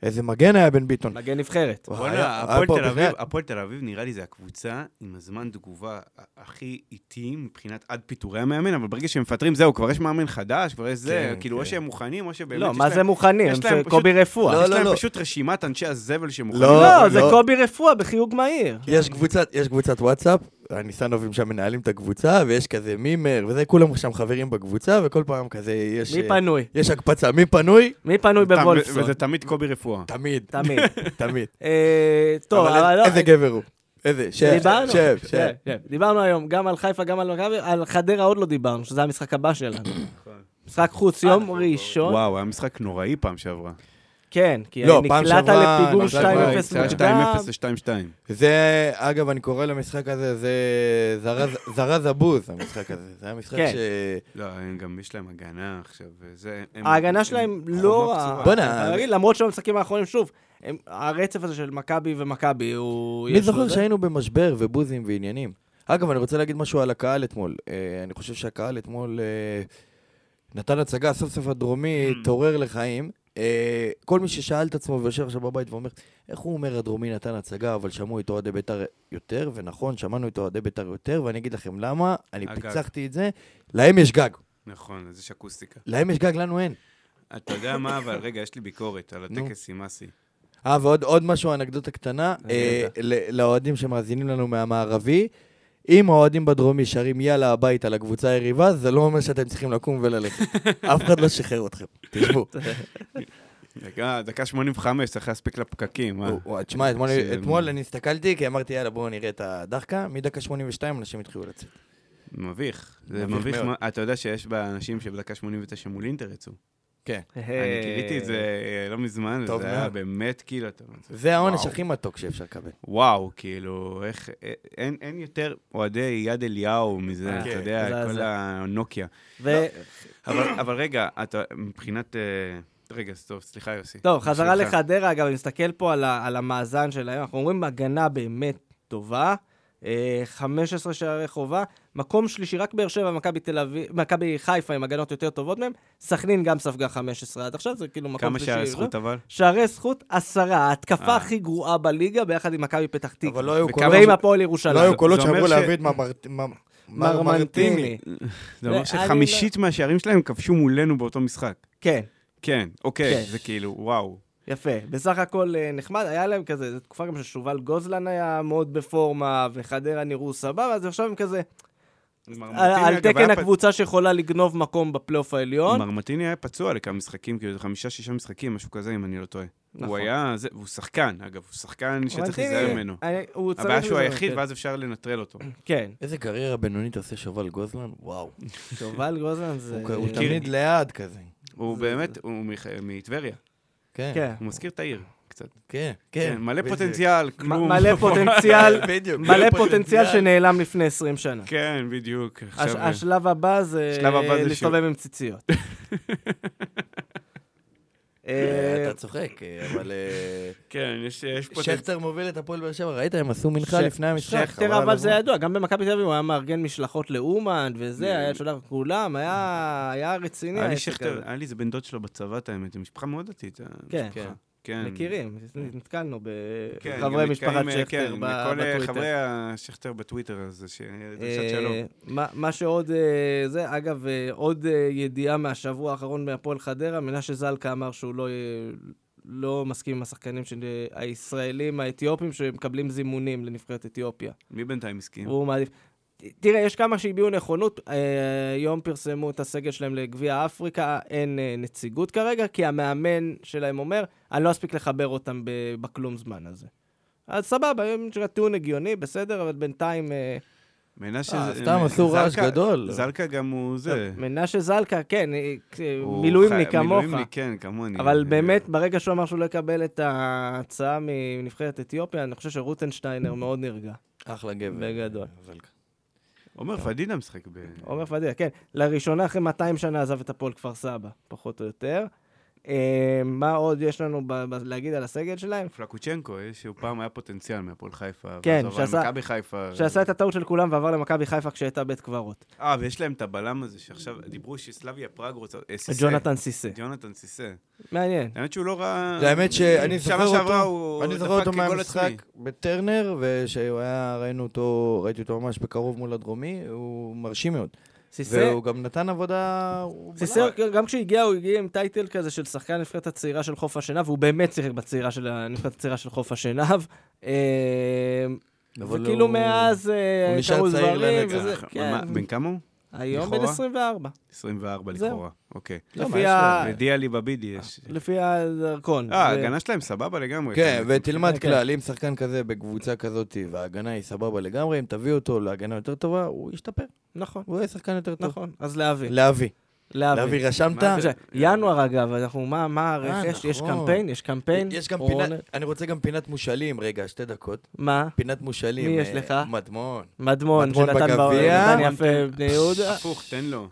איזה מגן היה בן ביטון. מגן נבחרת. הוא היה- אה, וואלה, היה הפועל פה תל אביב, בבחינת- הפועל תל אביב נראה לי זה הקבוצה עם הזמן תגובה ה- הכי איטי מבחינת עד פיטורי המאמן, אבל ברגע שהם מפטרים זהו, כבר יש מאמן חדש, כבר יש זה, כן, כאילו או כן. שהם מוכנים או שבאמת לא, יש מה להם- זה מוכנים? יש הם להם של קובי רפואה. לא, יש לא, להם לא. פשוט רשימת אנשי הזבל שמוכנים. לא, כן. לא, זה לא. קובי רפואה בחיוג מהיר. יש קבוצת, יש קבוצת וואטסאפ, הניסנובים שם מנהלים את הקבוצה, ויש כזה מימר, וזה, כולם שם חברים בקבוצה, וכל פעם כזה יש... מי אה, פנוי? יש הקפצה, מי פנוי? מי פנוי תם- בוולפסון? וזה תמיד קובי רפואה. תמיד, תמיד. תמיד. אה, טוב, אבל אבל איזה- לא... איזה גבר הוא. איזה, שב, דיברנו, כן, שב, שב, שב. שב. דיברנו היום גם על חיפה, גם על מכבי, על חדרה עוד לא דיברנו, שזה המשחק הבא שלנו. נכון. משחק חוץ, יום אה, ראשון. וואו, היה משחק נוראי פעם שעברה. כן, כי לא, פעם נקלעת שעברה- לפיגור פעם שעברה 2-0 היה 2-0 מוקדם. ל-2-2. זה, אגב, אני קורא למשחק הזה, זה זרז- זרז הבוז, המשחק הזה. זה המשחק כן. ש... לא, הם גם יש להם הגנה עכשיו, וזה... הם- ההגנה הם- שלהם הם לא חומה רעה. בצורה. בואנה, אני חייב להגיד, למרות שבמשחקים האחרונים, שוב, הם- הרצף הזה של מכבי ומכבי, הוא... מי יש לו זוכר זה? שהיינו במשבר ובוזים ועניינים? אגב, אני רוצה להגיד משהו על הקהל אתמול. אה, אני חושב שהקהל אתמול אה, נתן הצגה, סוף סוף הדרומי Hmm. התעורר לחיים. אה, כל מי ששאל את עצמו ויושב עכשיו בבית ואומר, איך הוא אומר הדרומי נתן הצגה, אבל שמעו את אוהדי בית"ר יותר, ונכון, שמענו את אוהדי בית"ר יותר, ואני אגיד לכם למה, אני הגג. פיצחתי את זה, להם יש גג. נכון, אז יש אקוסטיקה. להם יש גג, לנו אין. אתה יודע מה, אבל רגע, יש לי ביקורת על נו. הטקס עם אסי. אה, ועוד עוד משהו, אנקדוטה קטנה, אני אה, יודע. ל- לאוהדים שמאזינים לנו מהמערבי, אם האוהדים בדרומי שרים יאללה הביתה לקבוצה היריבה, זה לא אומר שאתם צריכים לקום וללכת. אף אחד לא שחרר אתכם, תשבו. דקה דקה 85, צריך להספיק לפקקים, אה? הוא- הוא- תשמע, אתמול- זה- אתמול אני הסתכלתי, כי אמרתי, יאללה, בואו נראה את הדחקה, מדקה 82 אנשים התחילו לצאת. מביך. זה מביך מביך מאוד. מאוד. אתה יודע שיש באנשים שבדקה 89 מול אינטר יצאו. אני אה, גיליתי את זה אה, לא מזמן, טוב וזה היה מאוד. באמת כאילו... אתה אומר, זה העונש וואו. הכי מתוק שאפשר לקבל. וואו, כאילו, איך... אה, אין- אין יותר אוהדי יד אליהו מזה, אה, אתה כן. זה- יודע, כל זה. הנוקיה. ו- לא, אבל אבל רגע, אתה מבחינת... אה, רגע, אז טוב, סליחה, יוסי. טוב, לא, חזרה סליחה. לחדרה, אגב, אני מסתכל פה על, ה, על המאזן שלהם, אנחנו אומרים הגנה באמת טובה, אה, 15 שערי חובה, מקום שלישי, רק באר שבע, מכבי תל אביב, מכבי חיפה עם הגנות יותר טובות מהם, סכנין גם ספגה 15 עד עכשיו, זה כאילו מקום כמה שלישי. שערי לא? זכות אבל? שערי זכות, עשרה, ההתקפה אה. הכי גרועה בליגה, ביחד עם מכבי פתח תקווה. אבל לא היו וכמה- ועם קולות- הפועל לא ירושלים. היו קולות זה אומר שאמרו ש- להביא את ממר- ממ- מרמנטיני. זה אומר אני לא- שחמישית מהשערים שלהם כבשו מולנו באותו משחק. כן, כן, אוקיי, כן. זה כאילו, וואו. יפה. בסך הכל אה, נחמד, היה להם כזה, זו תקופה גם ששובל גוזלן היה מאוד בפורמה, וחדרה נראו סבבה, אז עכשיו הם כזה, על- מרמטיני, אה, על אגב, היה תקן פ- הקבוצה שיכולה לגנוב מקום בפלייאוף העליון. מרמטיני היה פצוע לכמה משחקים, כאילו חמישה-שישה משחקים, משהו כזה, אם אני לא טועה. הוא נכון. היה, זה- והוא שחקן, אגב, הוא שחקן שצריך מרמנטיני, להיזהר ממנו. אני- הוא צריך הבעיה שהוא לזה, היחיד, כן. ואז אפשר לנטרל אותו. כן, איזה קריירה בינונית עושה שובל גוזלן? וואו. שובל גוזלן זה... כן. הוא הוא מכיר- תמיד ליד כזה. הוא באמת, הוא מח- מטבריה. כן, כן. הוא מזכיר את העיר קצת. כן, כן, כן. מלא בדיוק. פוטנציאל, מ- כלום. מלא פוטנציאל, בדיוק. אה, מלא פוטנציאל שנעלם לפני 20 שנה. כן, בדיוק. עכשיו- כן, הש- השלב הבא זה השלב הבא זה להסתובב עם ציציות. אה, אה, אתה צוחק, אה, אבל... אה, כן, יש- יש פוטנציאל. שכטר מוביל את הפועל באר שבע, ראית? הם עשו מנחה ש- לפני המשחק. חבל שכטר אבל זה הזמן. היה ידוע, גם במכבי תל אביב הוא היה מארגן משלחות לאומן וזה, היה שולח כולם, היה היה רציני. היה לי העסק שכטר, הזה. היה לי איזה בן דוד שלו בצבא, את האמת, זו משפחה מאוד דתית. אה, כן. המשפחה. כן. כן. מכירים, נתקלנו כן, בחברי גם משפחת נתקעים, אה, שכטר כן, ב- מכל, אה, בטוויטר. חברי השכטר בטוויטר הזה, שדרישת שלום. אה, מה- מה שעוד, אה, זה, אגב, אה, עוד אה, ידיעה מהשבוע האחרון מהפועל חדרה, מנשה זלקה אמר שהוא לא, אה, לא מסכים עם השחקנים של אה, הישראלים האתיופים שמקבלים זימונים לנבחרת אתיופיה. מי בינתיים הסכים? הוא מעדיף... ת- תראה, יש כמה שהביעו נכונות, אה, היום פרסמו את הסגל שלהם לגביע אפריקה, אין אה, נציגות כרגע, כי המאמן שלהם אומר, אני לא אספיק לחבר אותם ב- בכלום זמן הזה. אז סבבה, יש לך טיעון הגיוני, בסדר, אבל בינתיים... אה, מנשה... אה, זה- סתם מ- עשו רעש זלקה- גדול. זלקה גם הוא זה. מנשה זלקה, כן, אה, הוא מילואימניק חי- כמוך. מילואימניק, כן, כמוני. אבל אה, באמת, ברגע שהוא אמר שהוא לא יקבל את ההצעה מנבחרת אתיופיה, אני חושב שרוטנשטיינר מאוד נרגע. אחלה גבר. כן. בגדול. זלקה. עומר פדידה משחק ב... עומר פדידה, כן. לראשונה אחרי 200 שנה עזב את הפועל כפר סבא, פחות או יותר. אה, מה עוד יש לנו ב- ב- להגיד על הסגל שלהם? פלקוצ'נקו, יש- הוא פעם היה פוטנציאל מהפועל חיפה. ואז כן, הוא עבר שעשה- למכבי חיפה. שעשה את הטעות של כולם ועבר למכבי חיפה כשהייתה בית קברות. אה, ויש להם את הבלם הזה שעכשיו דיברו שסלאביה פראג רוצה... אה, סיסא. ג'ונתן סיסא. ג'ונתן סיסא. מעניין. אה, האמת שהוא לא אה, רע... האמת שאני זוכר שנה שעברה אותו, הוא אני זוכר אותו דפק כגול מהמשחק עצמי. בטרנר, ושהוא היה, ראינו אותו, ראיתי אותו ממש בקרוב מול הדרומי, הוא מרשים מאוד. סיסא, והוא גם אה, נתן עבודה... הוא סיסר, כן, גם כשהגיע, הוא הגיע עם טייטל כזה של שחקן הנבחרת הצעירה של חוף השנהב, והוא באמת שיחק בצעירה של הנבחרת הצעירה של חוף השנהב. אה, אבל וכאילו הוא- מאז אה, הוא נשאר קרו צעיר דברים, לנצח. וזה, כן. אה, מה, בן כמה הוא? היום בן לכאורה? 24, 24 זהו. לכאורה. אוקיי. לא, לפי מה יש לו? ה- ודיע לי בבידי יש. לפי הדרכון. זה- אה, ההגנה שלהם סבבה לגמרי. כן, ותלמד כן. כלל, אם שחקן כזה בקבוצה כזאת, וההגנה היא סבבה לגמרי, אם תביא אותו להגנה יותר טובה, הוא ישתפר, נכון, הוא יהיה שחקן יותר טוב. נכון. אז להביא. להביא. להביא. להביא, רשמת? מה זה? עכשיו, ינואר אגב, אנחנו, מה- מה אה, הרכש? יש נכון. קמפיין? יש קמפיין? יש גם רון- פינת, אני רוצה גם פינת מושאלים, רגע, שתי דקות. מה? פינת מושאלים. מי יש אה, לך? מדמון. מדמון, מדמון שנתן בגביע. בגביע, נתן יפה בני יהודה. הפוך, תן לו.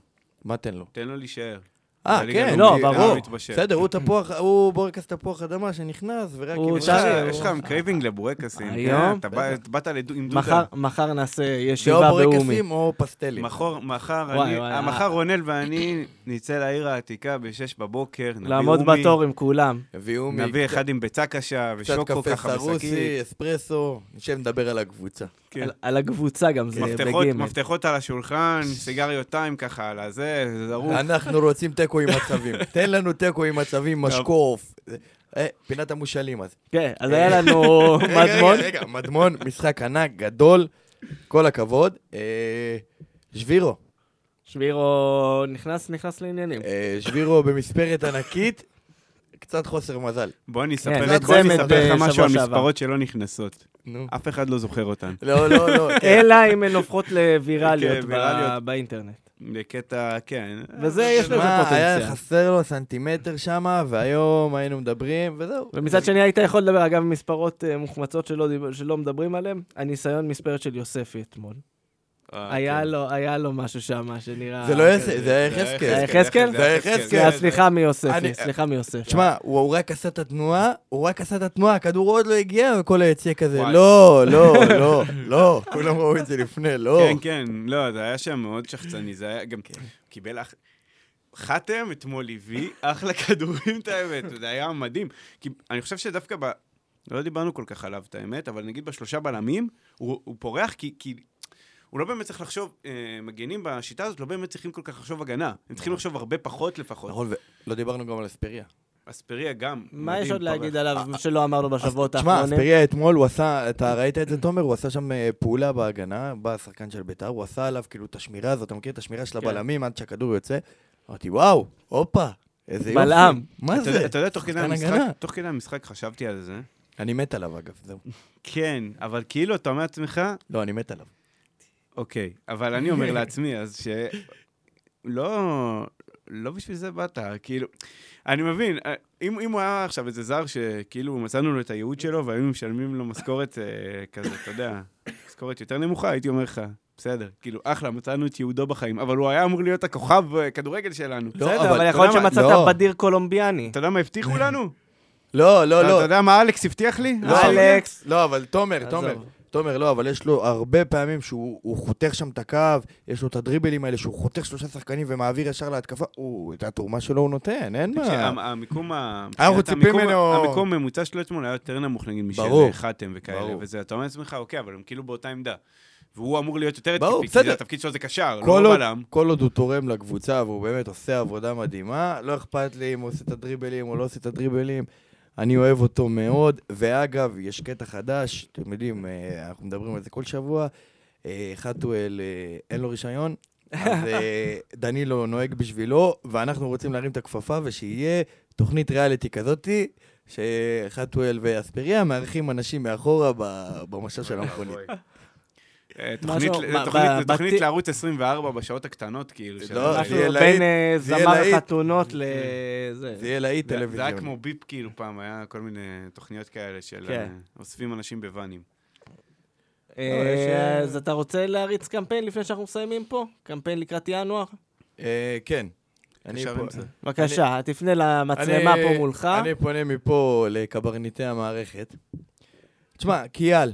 מה תן לו? תן לו להישאר. אה, בליגה כן, הלאומית, לא, כי- ברור. אה, הוא מתבשל. בסדר, הוא תפוח, הוא בורקס תפוח אדמה שנכנס, ורק... הוא עם- יש לך- שרי, יש לך קרייבינג לבורקסים. אה, היום? כן, אתה בא- אתה באת לדו- עם מחר- דודה. מחר נעשה זה ישיבה או באומי. בורקסים או פסטלים. מחר, מחר, וואי, אני- וואי, אה, אה. מחר רונל ואני נצא לעיר העתיקה ב-6 בבוקר, נביא לעמוד אומי, בתור עם כולם. הביאו מי- נביא אחד עם ביצה קשה כן. קצת ושוקו קפה ככה בשקית. סרוסי, אספרסו, נשב נדבר על הקבוצה. כן. על- על הקבוצה גם, זה מפתחות, בגימל. מפתחות על השולחן, סיגריות טיים ככה, על הזה, זה זרוק. אנחנו רוצים תיקו עם מצבים. תן לנו תיקו עם מצבים, משקוף. אה, פינת המושאלים אז. כן, אז היה לנו רגע, רגע, מדמון. רגע, מדמון, משחק ענק, גדול, כל הכבוד. אה, שבירו, שבירו נכנס, נכנס לעניינים. אה, שבירו במספרת ענקית, קצת חוסר מזל. בוא אני כן, אספר זה לך- בוא אני צמד אספר לך בשבוע משהו על שעבר. מספרות שלא נכנסות. נו. אף אחד לא זוכר אותן. לא, לא, לא. כן. אלא אם הן הופכות לווירליות כן, ב- ויראליות. באינטרנט. בקטע, כן. וזה יש לזה מה, היה פוטנציאל. חסר לו סנטימטר שם, והיום היינו מדברים, וזהו. ומצד שני היית יכול לדבר, אגב, מספרות אה, מוחמצות שלא דיב- שלא מדברים עליהן, הניסיון מספרת של יוספי אתמול. אה, היה כן. לו, היה לו משהו שם שנראה... זה לא אה, כזה. יס- זה היה יחזקאל. זה יחזקאל? זה היה זה כן. היה סליחה מיוספי, אני- סליחה מיוספי. תשמע, הוא הוא רק עשה את התנועה, הוא רק עשה את התנועה, הכדור עוד לא הגיע, וכל היציע כזה, וואי. לא, לא, לא, לא, כולם ראו את זה לפני, לא. כן, כן, לא, זה היה שם מאוד שחצני, זה היה גם... כן. קיבל אח... חתם אתמול הביא אחלה כדורים, את האמת, זה היה מדהים. כי אני חושב שדווקא ב... לא דיברנו כל כך עליו, את האמת, אבל נגיד בשלושה בלמים, הוא, הוא פורח כי... כי... הוא לא באמת צריך לחשוב, אה, מגנים בשיטה הזאת לא באמת צריכים כל כך לחשוב הגנה. הם צריכים לחשוב הרבה פחות לפחות. נכון, ולא דיברנו גם על אספריה. אספריה גם. מה יש מדהים, עוד פורח. להגיד עליו שלא אמרנו בשבועות תשמע, האחרונים? אספריה אתמול, הוא עשה, אתה ראית את זה, תומר? הוא עשה שם אה, פעולה בהגנה, בא השחקן של ביתר, הוא עשה עליו כאילו את השמירה הזאת, אתה מכיר את השמירה של כן. הבלמים עד שהכדור יוצא? אמרתי, וואו, הופה, איזה יופי. בלם. מה אתה זה? יודע- אתה יודע, תוך כדי שחקן המשחק- הגנה. תוך כדי המשחק חשבתי על זה. אני מת עליו, אגב, זהו. כן, אבל כאילו, אתה אומר לעצמך, לא, אני מת עליו. אוקיי, אבל אני אומר לעצמי, אז ש... לא, לא בשביל זה באת, כאילו... אני מבין, אה, אם, אם הוא היה עכשיו איזה זר שכאילו מצאנו לו את הייעוד שלו והיינו משלמים לו משכורת אה, כזה, אתה יודע, משכורת יותר נמוכה, הייתי אומר לך, בסדר, כאילו, אחלה, מצאנו את ייעודו בחיים, אבל הוא היה אמור להיות הכוכב אה, כדורגל שלנו. לא, בסדר, אבל אבל אתה יכול להיות יודע מה- שמצאת לא. בדיר קולומביאני. אתה יודע מה הבטיחו לנו? לא, אתה לא, אתה לא. יודע מה אלכס הבטיח לי? לא, עשה לי? אלכס. לא, אבל תומר, עזוב. תומר, תומר, לא, אבל יש לו הרבה פעמים שהוא הוא חותך שם את הקו, יש לו את הדריבלים האלה שהוא חותך שלושה שחקנים ומעביר ישר להתקפה, הוא, את התרומה שלו הוא נותן, אין מה. אה, תקשיב, אמ- המיקום ה... אנחנו מבחינת ציפים המיקום- ממנו- המיקום הממוצע שלו אתמול היה יותר נמוך, נגיד, משל ברור. חתם וכאלה, ברור. וזה, אתה אומר לעצמך, אוקיי, אבל הם כאילו באותה עמדה. והוא אמור להיות יותר ברור, התקפי, כי זה בסדר. התפקיד שלו זה קשר, כל לא עוד, בלם. כל עוד הוא תורם לקבוצה והוא באמת עושה עבודה מדהימה, לא אכפת לי אם הוא עושה את הדריבלים או לא עושה את הדריבלים. אני אוהב אותו מאוד, ואגב, יש קטע חדש, אתם יודעים, אה, אנחנו מדברים על זה כל שבוע, אה, חתואל, אה, אין לו רישיון, אז אה, דנילו נוהג בשבילו, ואנחנו רוצים להרים את הכפפה ושיהיה תוכנית ריאליטי כזאתי, שחתואל ואספריה מארחים אנשים מאחורה ב- במשל של המכונית. אה, תוכנית- משהו- ב- תוכנית- ב- תוכנית בת- לערוץ 24 בשעות הקטנות, כאילו. של- לא, משהו זה יהיה בין להיט. אה, זה יהיה זמר להיט. חתונות לזה. זה יהיה להיט זה- זה היה טלוויזיון. כמו ביפ, כאילו, פעם, היה כל מיני תוכניות כאלה של כן. אה, אוספים אנשים בוואנים. יש, אה, אז אתה רוצה להריץ קמפיין לפני שאנחנו מסיימים פה? קמפיין לקראת ינואר? אה, כן. אני ישר פה- עם זה. בבקשה, תפנה למצלמה אני- פה מולך. אני פונה מפה לקברניטי המערכת. תשמע, קיאל,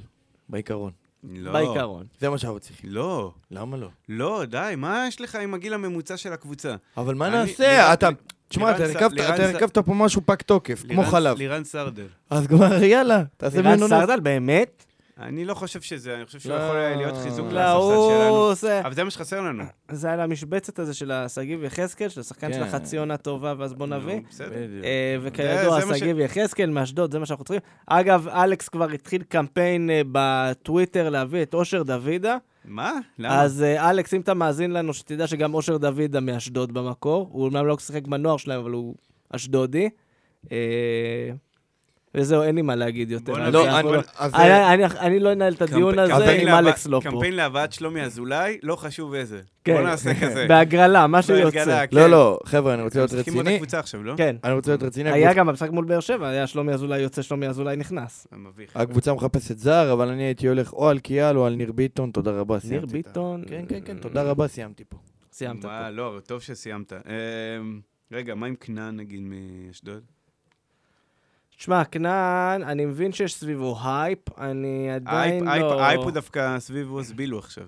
בעיקרון. לא. בעיקרון. זה מה שאנחנו צריכים. לא. למה לא? לא, די, מה יש לך עם הגיל הממוצע של הקבוצה? אבל מה אני- נעשה? לירן- אתה... תשמע, לירן אתה ס- הרכבת- לירן אתה ס- הרכבת פה משהו פג תוקף, כמו לירן- חלב. לירן סרדל. אז כבר יאללה, תעשה לירן ממנו נס. סרדל, באמת? אני לא חושב שזה, אני חושב שהוא לא. יכול היה להיות חיזוק לא, הוא לספסל שלנו. עושה... אבל זה מה שחסר לנו. זה על המשבצת הזה של השגיב יחזקאל, של השחקן של כן. החצי עונה טובה, ואז בוא נביא. נו, בסדר. אה, זה- וכידוע, זה מה ש- שגיב יחזקאל מאשדוד, זה מה שאנחנו צריכים. אגב, אלכס כבר התחיל קמפיין אה, בטוויטר להביא את אושר דוידה. מה? למה? אז אה, אלכס, אם אתה מאזין לנו, שתדע שגם אושר דוידה מאשדוד במקור. הוא אומנם לא שיחק בנוער שלהם, אבל הוא אשדודי. אה, וזהו, אין לי מה להגיד יותר. בוא על נביא- זה, לא, אנחנו אני- לא- אז- אני- אני- אני לא אנהל את הדיון קמפיין- הזה קמפיין אם להבא- אלכס לא פה. קמפיין להבאת שלומי אזולאי, לא חשוב איזה. כן. בוא נעשה כזה. בהגרלה, מה שיוצא. בהגרלה, כן. לא, לא, חבר'ה, אני רוצה הם להיות משחקים באותה רציני. קבוצה עכשיו, לא? כן. אני רוצה להיות רציני. היה הקבוצ- גם במשחק מול באר שבע, היה שלומי אזולאי יוצא, שלומי אזולאי נכנס. זה מביך. הקבוצה מחפשת זר, אבל אני הייתי הולך או על קיאל או על ניר ביטון, תודה רבה, סיימתי. ניר את ה- ביטון. כן, כן, אה, כן, תודה רבה, סיימתי פה. סיימת פה. מה, לא, טוב שסיימת. אמ, רגע, מה עם כנען, נגיד, מאשדוד? תשמע, כנען, אני מבין שיש סביבו הייפ, אני עדיין אייפ- אייפ- לא... אייפ הוא דווקא סביב רוס בילו עכשיו.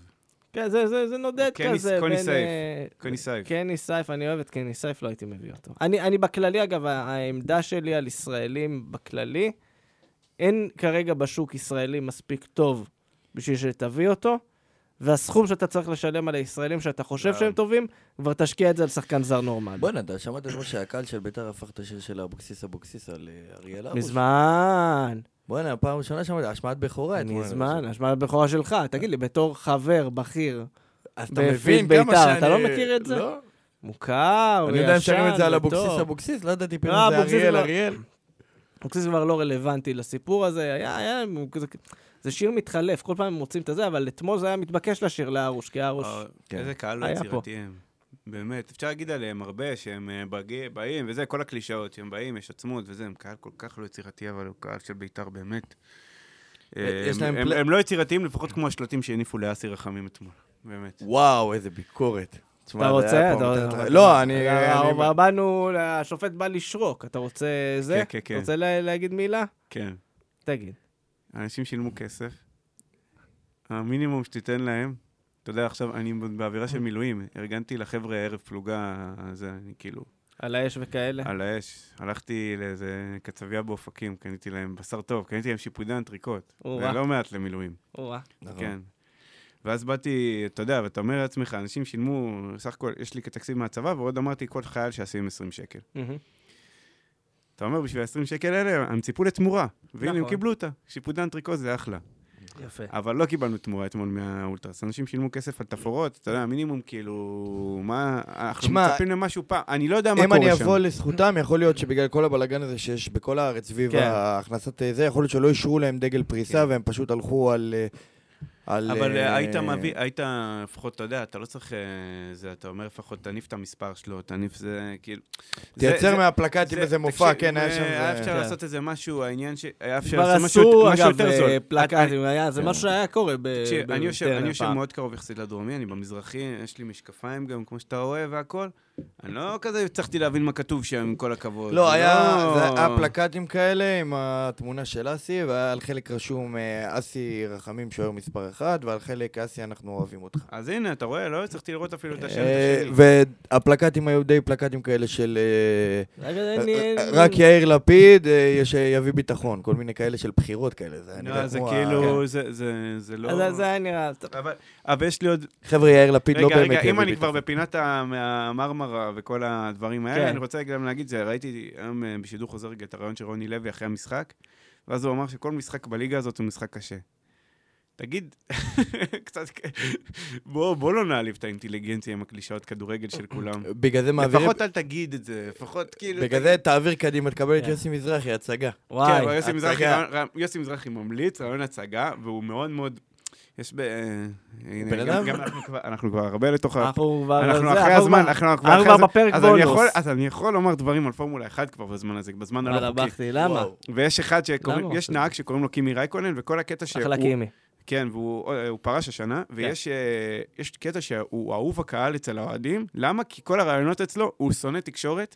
כן, זה, זה, זה נודד קני- כזה. קוני בין, סייף. אה, קוני סייף. קני סייף, אני אוהב את קני סייף, לא הייתי מביא אותו. אני, אני בכללי, אגב, ה- העמדה שלי על ישראלים בכללי, אין כרגע בשוק ישראלי מספיק טוב בשביל שתביא אותו, והסכום שאתה צריך לשלם על הישראלים שאתה חושב גם. שהם טובים, כבר תשקיע את זה על שחקן זר נורמלי. בואנה, אתה שמעת אתמול שהקהל של ביתר הפך את השיר של אבוקסיס אבוקסיס על אה, אריאל הרוש? מזמן, בואנה, פעם ראשונה שמעתי, השמעת בכורה אתמול. מזמן, השמעת בכורה שלך. תגיד לי, בתור חבר בכיר, אז אתה מבין כמה שאני- לא. מוכר, אני יודע אם וישן שרים את זה על וטוב. אבוקסיס אבוקסיס, לא ידעתי פתאום אה, זה אבוקסיס אריאל כבר- אריאל. אבוקסיס כבר לא רלוונטי לסיפור הזה, היה, היה, הוא כזה- זה שיר מתחלף, כל פעם הם מוצאים את זה, אבל אתמול זה היה מתבקש לשיר לארוש, כי הארוש... אה, כן. איזה קהל לא היה פה. יצירתי הם. באמת, אפשר להגיד עליהם הרבה שהם אה, בג- באים וזה, כל הקלישאות, שהם באים, יש עצמות וזה, הם קהל כל כך לא יצירתי, אבל הוא קהל של בית"ר באמת. אה, יש הם- להם הם- פלא- הם לא יצירתיים לפחות כמו השלטים שהניפו לאסי רחמים אתמול. באמת. וואו, איזה ביקורת. תשמע, אתה זה רוצה? היה אתה פה- רוצה? לא, אני... אה, אני- אבל באנו, השופט בא לשרוק, אתה רוצה זה? כן, כן, כן. אתה רוצה לה- להגיד מילה? כן. תגיד. אנשים שילמו כסף. המינימום שתיתן להם, אתה יודע, עכשיו אני באווירה של מילואים, ארגנתי לחבר'ה ערב פלוגה, זה, אני כאילו, על האש וכאלה. על האש. הלכתי לאיזה קצבייה באופקים, קניתי להם בשר טוב, קניתי להם שיפודי אנטריקוט. אורה, זה לא מעט למילואים, אורה. נכון. כן. ואז באתי, אתה יודע, ואתה אומר לעצמך, אנשים שילמו, סך הכל, יש לי כתקציב מהצבא, ועוד אמרתי, כל חייל שישים 20 שקל. מהמם. אתה אומר, בשביל ה-20 שקל האלה, הם ציפו לתמורה. והנה, הם נכון. קיבלו אותה. שיפודי אנטריקוט זה אחלה. יפה. כן. אבל לא קיבלנו תמורה אתמול מהאולטרס. אנשים שילמו כסף על תפאורות, אתה יודע, המינימום כאילו, מה, אנחנו שמע, מצפים למשהו פעם, אני לא יודע מה אם קורה אני שם. אבוא לזכותם, יכול להיות שבגלל כל הבלגן הזה שיש בכל הארץ סביב כן. הכנסת זה, יכול להיות שלא אישרו להם דגל פריסה כן. והם פשוט הלכו על... אה, על, אבל אה, אה, היית מביא, היית לפחות, אתה יודע, אתה לא צריך אה, זה, אתה אומר לפחות, תניף את המספר שלו, תניף זה, כאילו... זה- תייצר זה- מהפלקטים זה- איזה מופע, תקשיב, כן, היה אה, היה שם... אפשר זה- כן. לעשות איזה משהו, העניין ש... היה אפשר כבר לעשות משהו עשו, משהו אגב, יותר זול. אה, פלקטים, היה- זה כן. משהו שהיה קורה ב- כן, תקשיב, אני יושב- בטרנר אני יושב פעם. מאוד קרוב יחסית לדרומי, אני במזרחי, יש לי משקפיים גם, כמו שאתה רואה והכל. אני לא כזה הצלחתי להבין מה כתוב שם, עם כל הכבוד. לא, היה, זה היה פלקטים כאלה עם התמונה של אסי, והיה על חלק רשום אה, אסי רחמים שוער מספר אחת, ועל חלק אסי אנחנו אוהבים אותך. אז הנה, אתה רואה, לא הצלחתי לראות אפילו את השם אה, השני. והפלקטים היו די פלקטים כאלה של אה, רגע, אין לי- אה, אין- רק יאיר לפיד אה, יש- יביא ביטחון, כל מיני כאלה של בחירות כאלה. זה היה נראה לא, זה כמו ה- כאילו, זה- זה זה לא... אז זה היה נראה... טוב. אבל- אבל יש לי עוד... חבר'ה, יאיר לפיד לא רגע, באמת יביא רגע, ביטחון. אם אני כבר בפינת ה- המרמרה וכל הדברים כן. האלה, אני רוצה גם להגיד, זה, ראיתי היום אה, בשידור חוזר את הרעיון של רוני לוי אחרי המשחק, ואז הוא אמר שכל משחק בליגה הזאת הוא משחק קשה. תגיד, קצת, בוא, בוא לא נעליב את האינטליגנציה עם הקלישאות כדורגל של כולם. בגלל זה מעבירים... לפחות אל תגיד את זה, לפחות כאילו... בגלל זה תעביר קדימה, תקבל את כן. יוסי מזרחי, הצגה. וואי. כן, אבל יוסי מזרחי, הצגה. רעיון- רעיון- יוסי מזרחי ממליץ, רעיון הצגה, והוא מאוד מאוד... יש ב... אה, הנה, בן גם- אדם? גם אנחנו כבר- אנחנו כבר הרבה לתוך ה... אנחנו כבר... אנחנו זה, אחרי אנחנו הזמן, כבר- אנחנו כבר אנחנו אחרי כבר הזמן. בפרק אז אני יכול- בונוס. אז אני יכול לומר דברים על פורמולה 1 כבר בזמן הזה, בזמן וואלה, הלא חוקי. בכתי, למה? וואו. ויש אחד שקוראים, למה? יש נהג שקוראים לו קימי רייקונן, וכל הקטע שהוא... אחלה קימי. כן, והוא אה, הוא פרש השנה, ויש אה, יש קטע שהוא אהוב הקהל אצל האוהדים. למה? כי כל הרעיונות אצלו, הוא שונא תקשורת.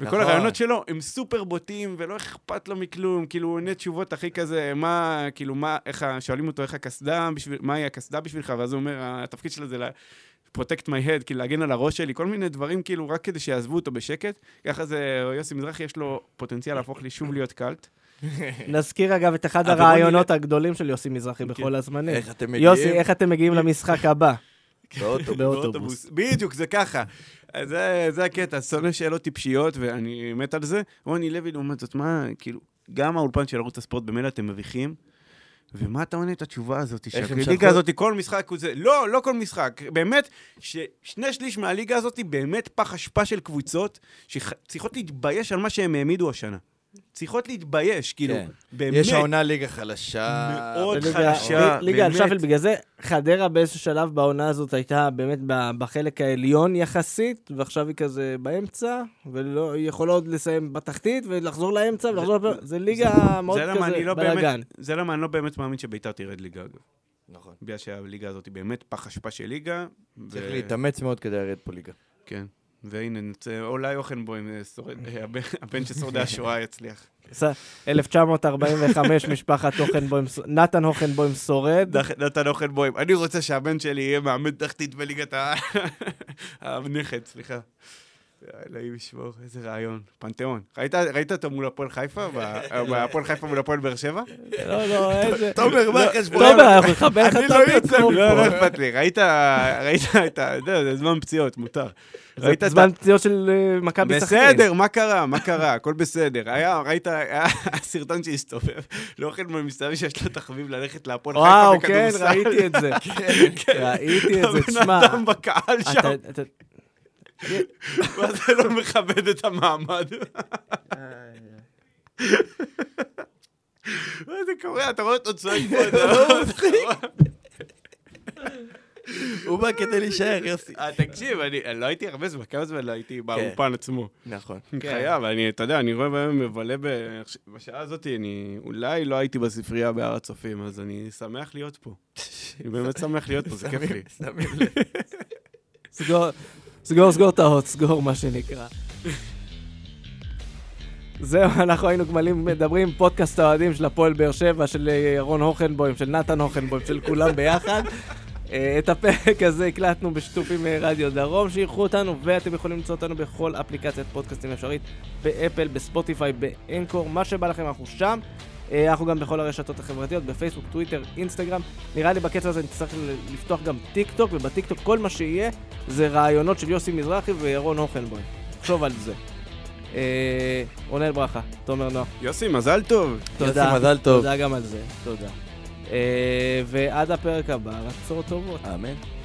וכל נכון. הרעיונות שלו הם סופר בוטים, ולא אכפת לו מכלום, כאילו, הוא עונה תשובות הכי כזה, מה, כאילו, מה, איך, ה- שואלים אותו איך הקסדה, בשביל, מה היא הקסדה בשבילך, ואז הוא אומר, התפקיד שלה זה ל... protect my head, כאילו להגן על הראש שלי, כל מיני דברים כאילו רק כדי שיעזבו אותו בשקט. ככה זה, יוסי מזרחי יש לו פוטנציאל להפוך לי שוב להיות קאלט. נזכיר אגב את אחד אבל בוא אוקיי. הרעיונות הגדולים של יוסי מזרחי בכל הזמנים. איך אתם מגיעים? כן. יוסי, איך אתם מגיעים למשחק הבא? באוטו. באוטובוס. בדיוק, זה ככה. אז זה, זה הקטע, שונא שאלות טיפשיות, ואני מת על זה. רוני לוי, לעומת זאת, מה, כאילו, גם האולפן של ערוץ הספורט, במילא אתם מביכים. ומה אתה עונה את התשובה הזאת? הם שהליגה שלחו- הזאת, כל משחק הוא זה... לא, לא כל משחק. באמת, ששני שליש מהליגה הזאת באמת פח אשפה של קבוצות שצריכות להתבייש על מה שהם העמידו השנה. צריכות להתבייש, כאילו, כן. באמת. יש העונה ליגה חלשה. מאוד ליגה- חלשה, ליגה על באמת. שפל, בגלל זה חדרה באיזשהו שלב בעונה הזאת הייתה באמת ב- בחלק העליון יחסית, ועכשיו היא כזה באמצע, והיא יכולה עוד לסיים בתחתית ולחזור לאמצע ולחזור... לפ- זה ליגה מאוד זה למה אני כזה לא בלאגן. באמת, זה למה אני לא באמת מאמין שביתר תרד ליגה, אגב. נכון. בגלל שהליגה הזאת היא באמת פח אשפה של ליגה. ו- צריך להתאמץ מאוד כדי לרדת פה ליגה. כן. והנה, נצא- אולי אוכנבוים, אה, שורד- אה, הבן- הבן של שורדי השואה יצליח. ס- 1945, משפחת הוכנבוים, ס- נתן הוכנבוים שורד. דח- נתן אוכנבוים. אני רוצה שהבן שלי יהיה מאמן תחתית בליגת ה... הנכד, סליחה. אלוהים ישמור, איזה רעיון. פנתיאון. ראית- ראית אותו מול הפועל חיפה? ב- בהפועל חיפה מול הפועל באר שבע? לא, לא, איזה... תומר, מה החשבון? תומר, אנחנו נחבר לך את לא, המיקרופון. לא אכפת לי. ראית ראית את ה... אתה יודע, זה זמן פציעות, מותר. זה ראית את ה- זמן פציעות של אה, מכבי סכנין. בסדר, מה קרה? מה קרה? הכל בסדר. היה, ראית, היה הסרטון שהסתובב, לא אוכל במסתבר שיש לו תחביב ללכת להפועל חיפה וואו, כן, בכדורסל. ראיתי את זה. כן. ראיתי את זה, תשמע. הבן אדם בקהל שם, אתה- אתה- מה זה לא מכבד את המעמד? לא מה זה קורה? אתה רואה אותו צועק פה, אתה רואה אותו- הוא בא כדי להישאר, יוסי. אה, תקשיב, אני אני לא הייתי הרבה זמן, כמה זמן לא הייתי באולפן עצמו. נכון. כן. חייב, אני, אתה יודע, אני רואה ביום מבלה ב... בשעה הזאת, אני אולי לא הייתי בספרייה בהר הצופים, אז אני שמח להיות פה. אני באמת שמח להיות פה, זה כיף לי. שמים לב. סגור, סגור, סגור את האות, סגור מה שנקרא. זהו, אנחנו היינו גמלים מדברים, פודקאסט האוהדים של הפועל באר שבע, של אה, ירון הוכנבוים, של נתן הוכנבוים, של כולם ביחד. אה, את הפרק הזה הקלטנו בשיתוף עם אה, רדיו דרום, שאירחו אותנו, ואתם יכולים למצוא אותנו בכל אפליקציית פודקאסטים אפשרית, באפל, בספוטיפיי, באנקור, מה שבא לכם, אנחנו שם. אה, אנחנו גם בכל הרשתות החברתיות, בפייסבוק, טוויטר, אינסטגרם. נראה לי בקצב הזה נצטרך ל- לפתוח גם טיק טוק, ובטיק טוק כל מה שיהיה זה רעיונות של יוסי מזרחי וירון הוכנבוים. תחשוב על זה. אה, רונן ברכה, תומר נוח, יוסי, מזל טוב. תודה. יוסי, מזל טוב. תודה גם על זה, תודה. אה, ועד הפרק הבא, רצות טובות. אמן.